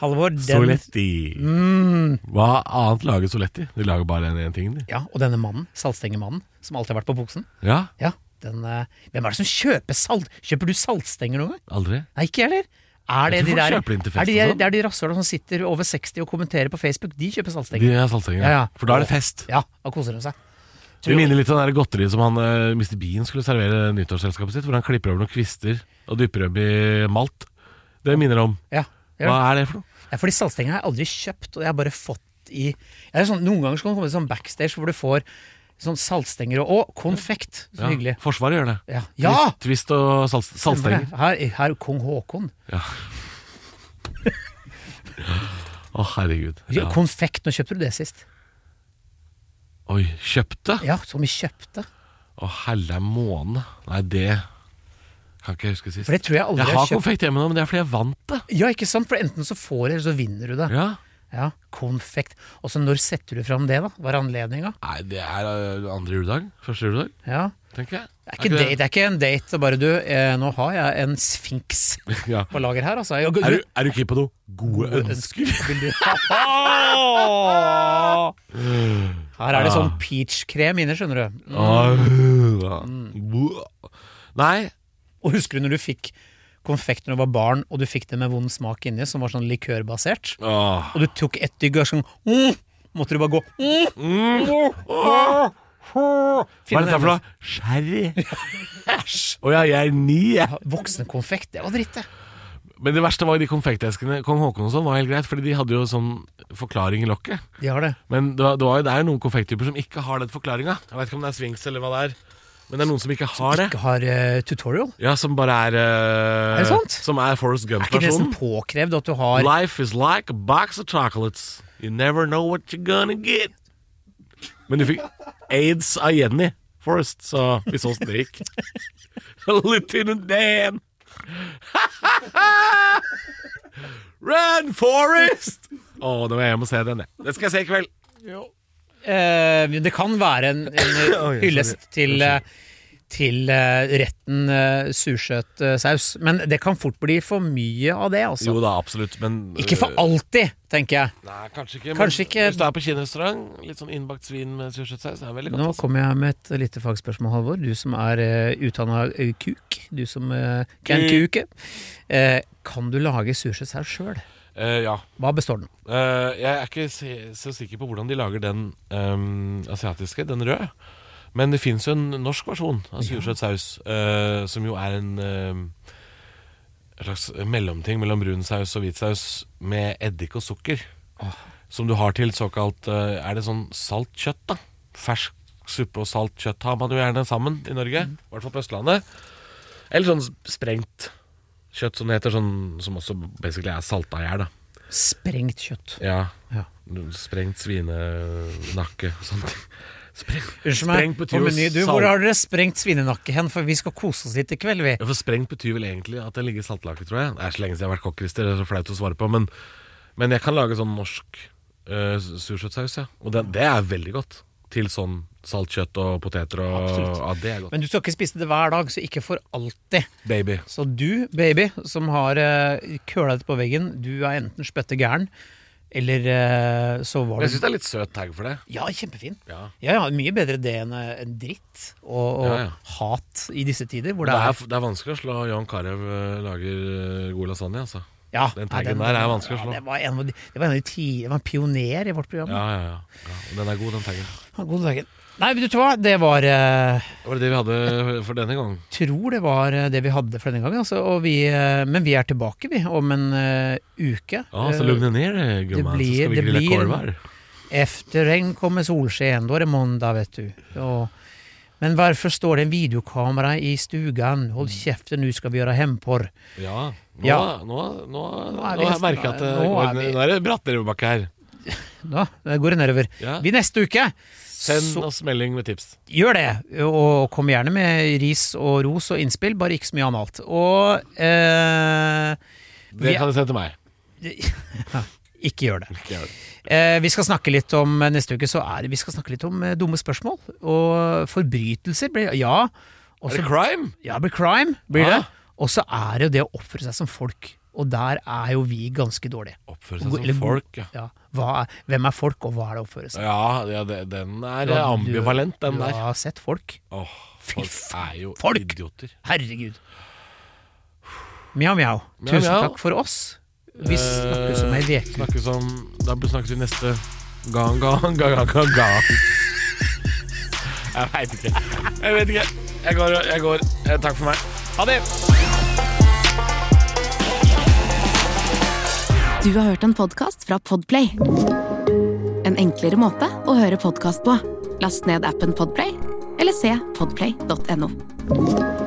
Speaker 3: Halvor. Den, Mm.
Speaker 2: Soletti. Hva annet lager Soletti? De lager bare den ene tingen, de.
Speaker 3: ja, og denne mannen, saltstengemannen, som alltid har vært på buksen.
Speaker 2: Ja.
Speaker 3: Ja, blitt en eh, Hvem er det som kjøper salt? Kjøper du saltstenger noen gang?
Speaker 2: Aldri?
Speaker 3: Nei, ikke jeg heller. Er det,
Speaker 2: Jeg tror
Speaker 3: de
Speaker 2: folk
Speaker 3: der,
Speaker 2: kjøper inn til
Speaker 3: er
Speaker 2: fest
Speaker 3: det,
Speaker 2: og
Speaker 3: de-
Speaker 2: sånn.
Speaker 3: det er de rasshøla som sitter over 60 og kommenterer på Facebook? De kjøper
Speaker 2: De
Speaker 3: saltstenger.
Speaker 2: er saltstenger,
Speaker 3: Ja, ja.
Speaker 2: For da er det fest.
Speaker 3: Ja, da koser de seg.
Speaker 2: Det minner litt om det der godteriet som han eh, Mr. Bean skulle servere nyttårsselskapet sitt, hvor han klipper over noen kvister og dypper dem i malt. Det minner om.
Speaker 3: Ja, det gjør
Speaker 2: Hva er det for noe?
Speaker 3: Ja, fordi saltstenger har jeg aldri kjøpt, og jeg har bare fått i jeg er sånn, Noen ganger så kan det komme sånn backstage hvor du får sånn saltstenger og Å, konfekt! Så
Speaker 2: Ja,
Speaker 3: hyggelig.
Speaker 2: Forsvaret gjør det.
Speaker 3: Ja! ja!
Speaker 2: Twist- Twist og salt, saltstenger.
Speaker 3: Her, her kong Haakon.
Speaker 2: Å, herregud. Ja.
Speaker 3: Konfekt, når kjøpte du det sist?
Speaker 2: Oi, kjøpte?
Speaker 3: Ja, som vi kjøpte.
Speaker 2: Å, helle måne. Nei, det kan ikke jeg huske sist.
Speaker 3: For det tror jeg aldri
Speaker 2: Jeg
Speaker 3: jeg
Speaker 2: har
Speaker 3: har kjøpt.
Speaker 2: konfekt hjemme nå, men det er fordi jeg vant det.
Speaker 3: Ja, ikke sant? For enten så får du, eller så vinner du det.
Speaker 2: Ja.
Speaker 3: Ja, Konfekt. Og så når setter du fram det, da? Hva er anledninga?
Speaker 2: Nei, det er eh, andre juledag. Første juledag,
Speaker 3: Ja.
Speaker 2: tenker jeg.
Speaker 3: Det er ikke, date, det er ikke en date, det er bare du. Eh, nå har jeg en sfinks
Speaker 2: Ja.
Speaker 3: på lager her, altså.
Speaker 2: Er du, er du keen på noe? Gode ønsker?
Speaker 3: Vil du Her er
Speaker 2: Ah.
Speaker 3: det sånn peachkrem inne, skjønner du.
Speaker 2: Ah, ja. Nei,
Speaker 3: Og husker du når du fikk konfekt når du var barn, og du fikk det med vond smak inni, som var sånn likørbasert?
Speaker 2: Åh.
Speaker 3: Og du tok ett dygg og sånn mm, Måtte du bare gå mm,
Speaker 2: Hva er dette for noe? Sherry.
Speaker 3: Æsj!
Speaker 2: Å ja, jeg er ni, jeg.
Speaker 3: Voksenkonfekt, det var dritt, det.
Speaker 2: Men det verste var de konfekteskene. Kong Haakon og sånn var helt greit, Fordi de hadde jo sånn forklaring i lokket.
Speaker 3: De har det.
Speaker 2: Men det, var, det, var, jo- det er jo noen konfekttyper som ikke har den forklaringa. Jeg vet ikke om det er Swings eller hva det er. Men det er noen som ikke har det.
Speaker 3: Ikke har eh, tutorial.
Speaker 2: Ja, Som bare er eh,
Speaker 3: Er det sant?
Speaker 2: Som er Forrest
Speaker 3: Er ikke det
Speaker 2: Gump-versjonen.
Speaker 3: nesten påkrevd at du har
Speaker 2: Life is like a box of chocolates. You never know what you're gonna get. Men du fikk aids av Jenny Forrest, så vi så åssen det gikk. Lieutenant Dan. Run, Forrest! Å, nå må jeg hjem og se den, jeg. Den skal jeg se i kveld.
Speaker 3: Eh, Det kan være en, en
Speaker 2: Oi,
Speaker 3: hyllest til, eh, til eh, retten eh, sursøt eh, saus. Men det kan fort bli for mye av det, altså.
Speaker 2: Jo da, absolutt, men eh,
Speaker 3: Ikke for alltid, tenker jeg.
Speaker 2: Nei, kanskje ikke.
Speaker 3: Kanskje
Speaker 2: men
Speaker 3: ikke.
Speaker 2: Hvis du er på kinarestaurant, litt sånn innbakt svin med sursøtsaus, det er veldig godt.
Speaker 3: Nå
Speaker 2: altså.
Speaker 3: kommer jeg med et lite fagspørsmål, Halvor. Du som er uh, utdanna kuk. Du som eh, kan
Speaker 2: Kuk.
Speaker 3: kuke. Eh, kan du lage sursøtsaus sjøl?
Speaker 2: Eh, ja.
Speaker 3: Hva består den av?
Speaker 2: Eh, jeg er ikke se, så sikker på hvordan de lager den ehm, asiatiske, den røde. Men det fins jo en norsk versjon av sursøt saus, eh, som jo er en ehm, en slags mellomting mellom brun saus og hvit saus med eddik og sukker. Som du har til såkalt eh, Er det sånn salt kjøtt, da? Fersk suppe og salt kjøtt har man jo gjerne sammen i Norge. I hvert fall på Østlandet. Eller sånn sprengt kjøtt, som det heter. Sånn, som også basically er salta i hjel, da.
Speaker 3: Sprengt kjøtt.
Speaker 2: Ja.
Speaker 3: Ja.
Speaker 2: Sprengt svinenakke og sånt. Spreng,
Speaker 3: Unnskyld meg,
Speaker 2: sprengt
Speaker 3: på
Speaker 2: betyr jo
Speaker 3: meny, du, hvor
Speaker 2: salt.
Speaker 3: har dere sprengt svinenakke hen? For vi skal kose oss litt i kveld, vi.
Speaker 2: Ja, for Sprengt betyr vel egentlig at det ligger saltlake, tror jeg. Det er så lenge siden jeg har vært kokk, Christer. Det er så flaut å svare på. Men, men jeg kan lage sånn norsk uh, sursøtsaus, ja. Og det, det er veldig godt. Til sånn salt kjøtt og poteter og
Speaker 3: Absolutt.
Speaker 2: Ja, det er godt.
Speaker 3: Men du skal ikke spise det hver dag, så ikke for alltid.
Speaker 2: Baby.
Speaker 3: Så du, baby, som har eh, køla deg på veggen, du er enten spøtte gæren, eller eh, så var
Speaker 2: Men jeg
Speaker 3: du
Speaker 2: syns det er litt søt tag for det.
Speaker 3: Ja, kjempefin.
Speaker 2: Ja.
Speaker 3: Ja, ja, mye bedre det enn eh, enn dritt og, og
Speaker 2: Ja, ja.
Speaker 3: hat i disse tider, hvor
Speaker 2: Det
Speaker 3: det
Speaker 2: er,
Speaker 3: er
Speaker 2: det er vanskelig å slå Jan Carew eh, lager eh, god lasagne, altså.
Speaker 3: ja,
Speaker 2: den
Speaker 3: nei,
Speaker 2: taggen der er vanskelig å slå.
Speaker 3: Ja, det, var en, av de- det var en av de ti Det var en pioner i vårt program.
Speaker 2: Ja, ja, ja. ja. Og den er god, den taggen.
Speaker 3: Ja. God dagen. Nei, vet du hva, det var eh,
Speaker 2: Det var det vi hadde for denne gang.
Speaker 3: tror det var eh, det vi hadde for denne gangen, altså. Og vi, eh, men vi er tilbake, vi, om en eh, uke.
Speaker 2: Ja, så
Speaker 3: Eh,
Speaker 2: lugg deg ned, gumman, så
Speaker 3: blir-
Speaker 2: skal vi
Speaker 3: det
Speaker 2: grille
Speaker 3: blir-
Speaker 2: korv her.
Speaker 3: Efter regn kommer solsken, da er det måndag, vet du. Ja. Men varför står det en videokamera i stugan? Hold käften, nu ska vi göra hemporr.
Speaker 2: Ja, nå,
Speaker 3: Ja.
Speaker 2: nå, nå, nå,
Speaker 3: er vi-
Speaker 2: merker jeg at det
Speaker 3: nå er
Speaker 2: går,
Speaker 3: vi-
Speaker 2: nå er det bratt nedoverbakke her.
Speaker 3: Ja, det går nedover.
Speaker 2: Ja.
Speaker 3: Vi neste uke,
Speaker 2: Send
Speaker 3: så
Speaker 2: oss melding med tips.
Speaker 3: gjør det! Og kom gjerne med ris og ros og innspill, bare ikke så mye annet. Og eh,
Speaker 2: Det
Speaker 3: Vi-
Speaker 2: kan du sende til meg.
Speaker 3: ikke gjør det.
Speaker 2: Ikke gjør det.
Speaker 3: Eh, vi skal snakke litt om neste uke så er det, vi skal snakke litt om eh, dumme spørsmål. Og forbrytelser. Blir, ja. Og
Speaker 2: Er
Speaker 3: så
Speaker 2: det crime?
Speaker 3: Ja, det blir crime, blir
Speaker 2: Ja.
Speaker 3: det. Og så er det jo det å oppføre seg som folk Og der er jo vi ganske dårlige.
Speaker 2: Oppføre seg
Speaker 3: Eller
Speaker 2: som
Speaker 3: god-
Speaker 2: folk, ja.
Speaker 3: Ja, hva er, hvem er folk, og hva er det å oppføre seg?
Speaker 2: Ja, ja det, den er
Speaker 3: Du har-
Speaker 2: ambivalent, den
Speaker 3: Du
Speaker 2: der.
Speaker 3: har sett folk.
Speaker 2: Åh,
Speaker 3: Fy
Speaker 2: folk er jo
Speaker 3: folk!
Speaker 2: idioter.
Speaker 3: Herregud. Mjau, mjau.
Speaker 2: Mjau,
Speaker 3: Tusen
Speaker 2: mjau.
Speaker 3: takk for oss. Vi snakkes om ei uke.
Speaker 2: Snakkes om Eh, Da snakkes vi neste gang, gang, gang, gang, gang. Jeg veit ikke. Jeg vet ikke. Jeg går. Jeg går. Eh, Takk for meg.
Speaker 3: Ha det!
Speaker 1: Du har hørt en podcast fra Podplay En enklere måte å høre podcast på Last ned appen Podplay Eller se podplay.no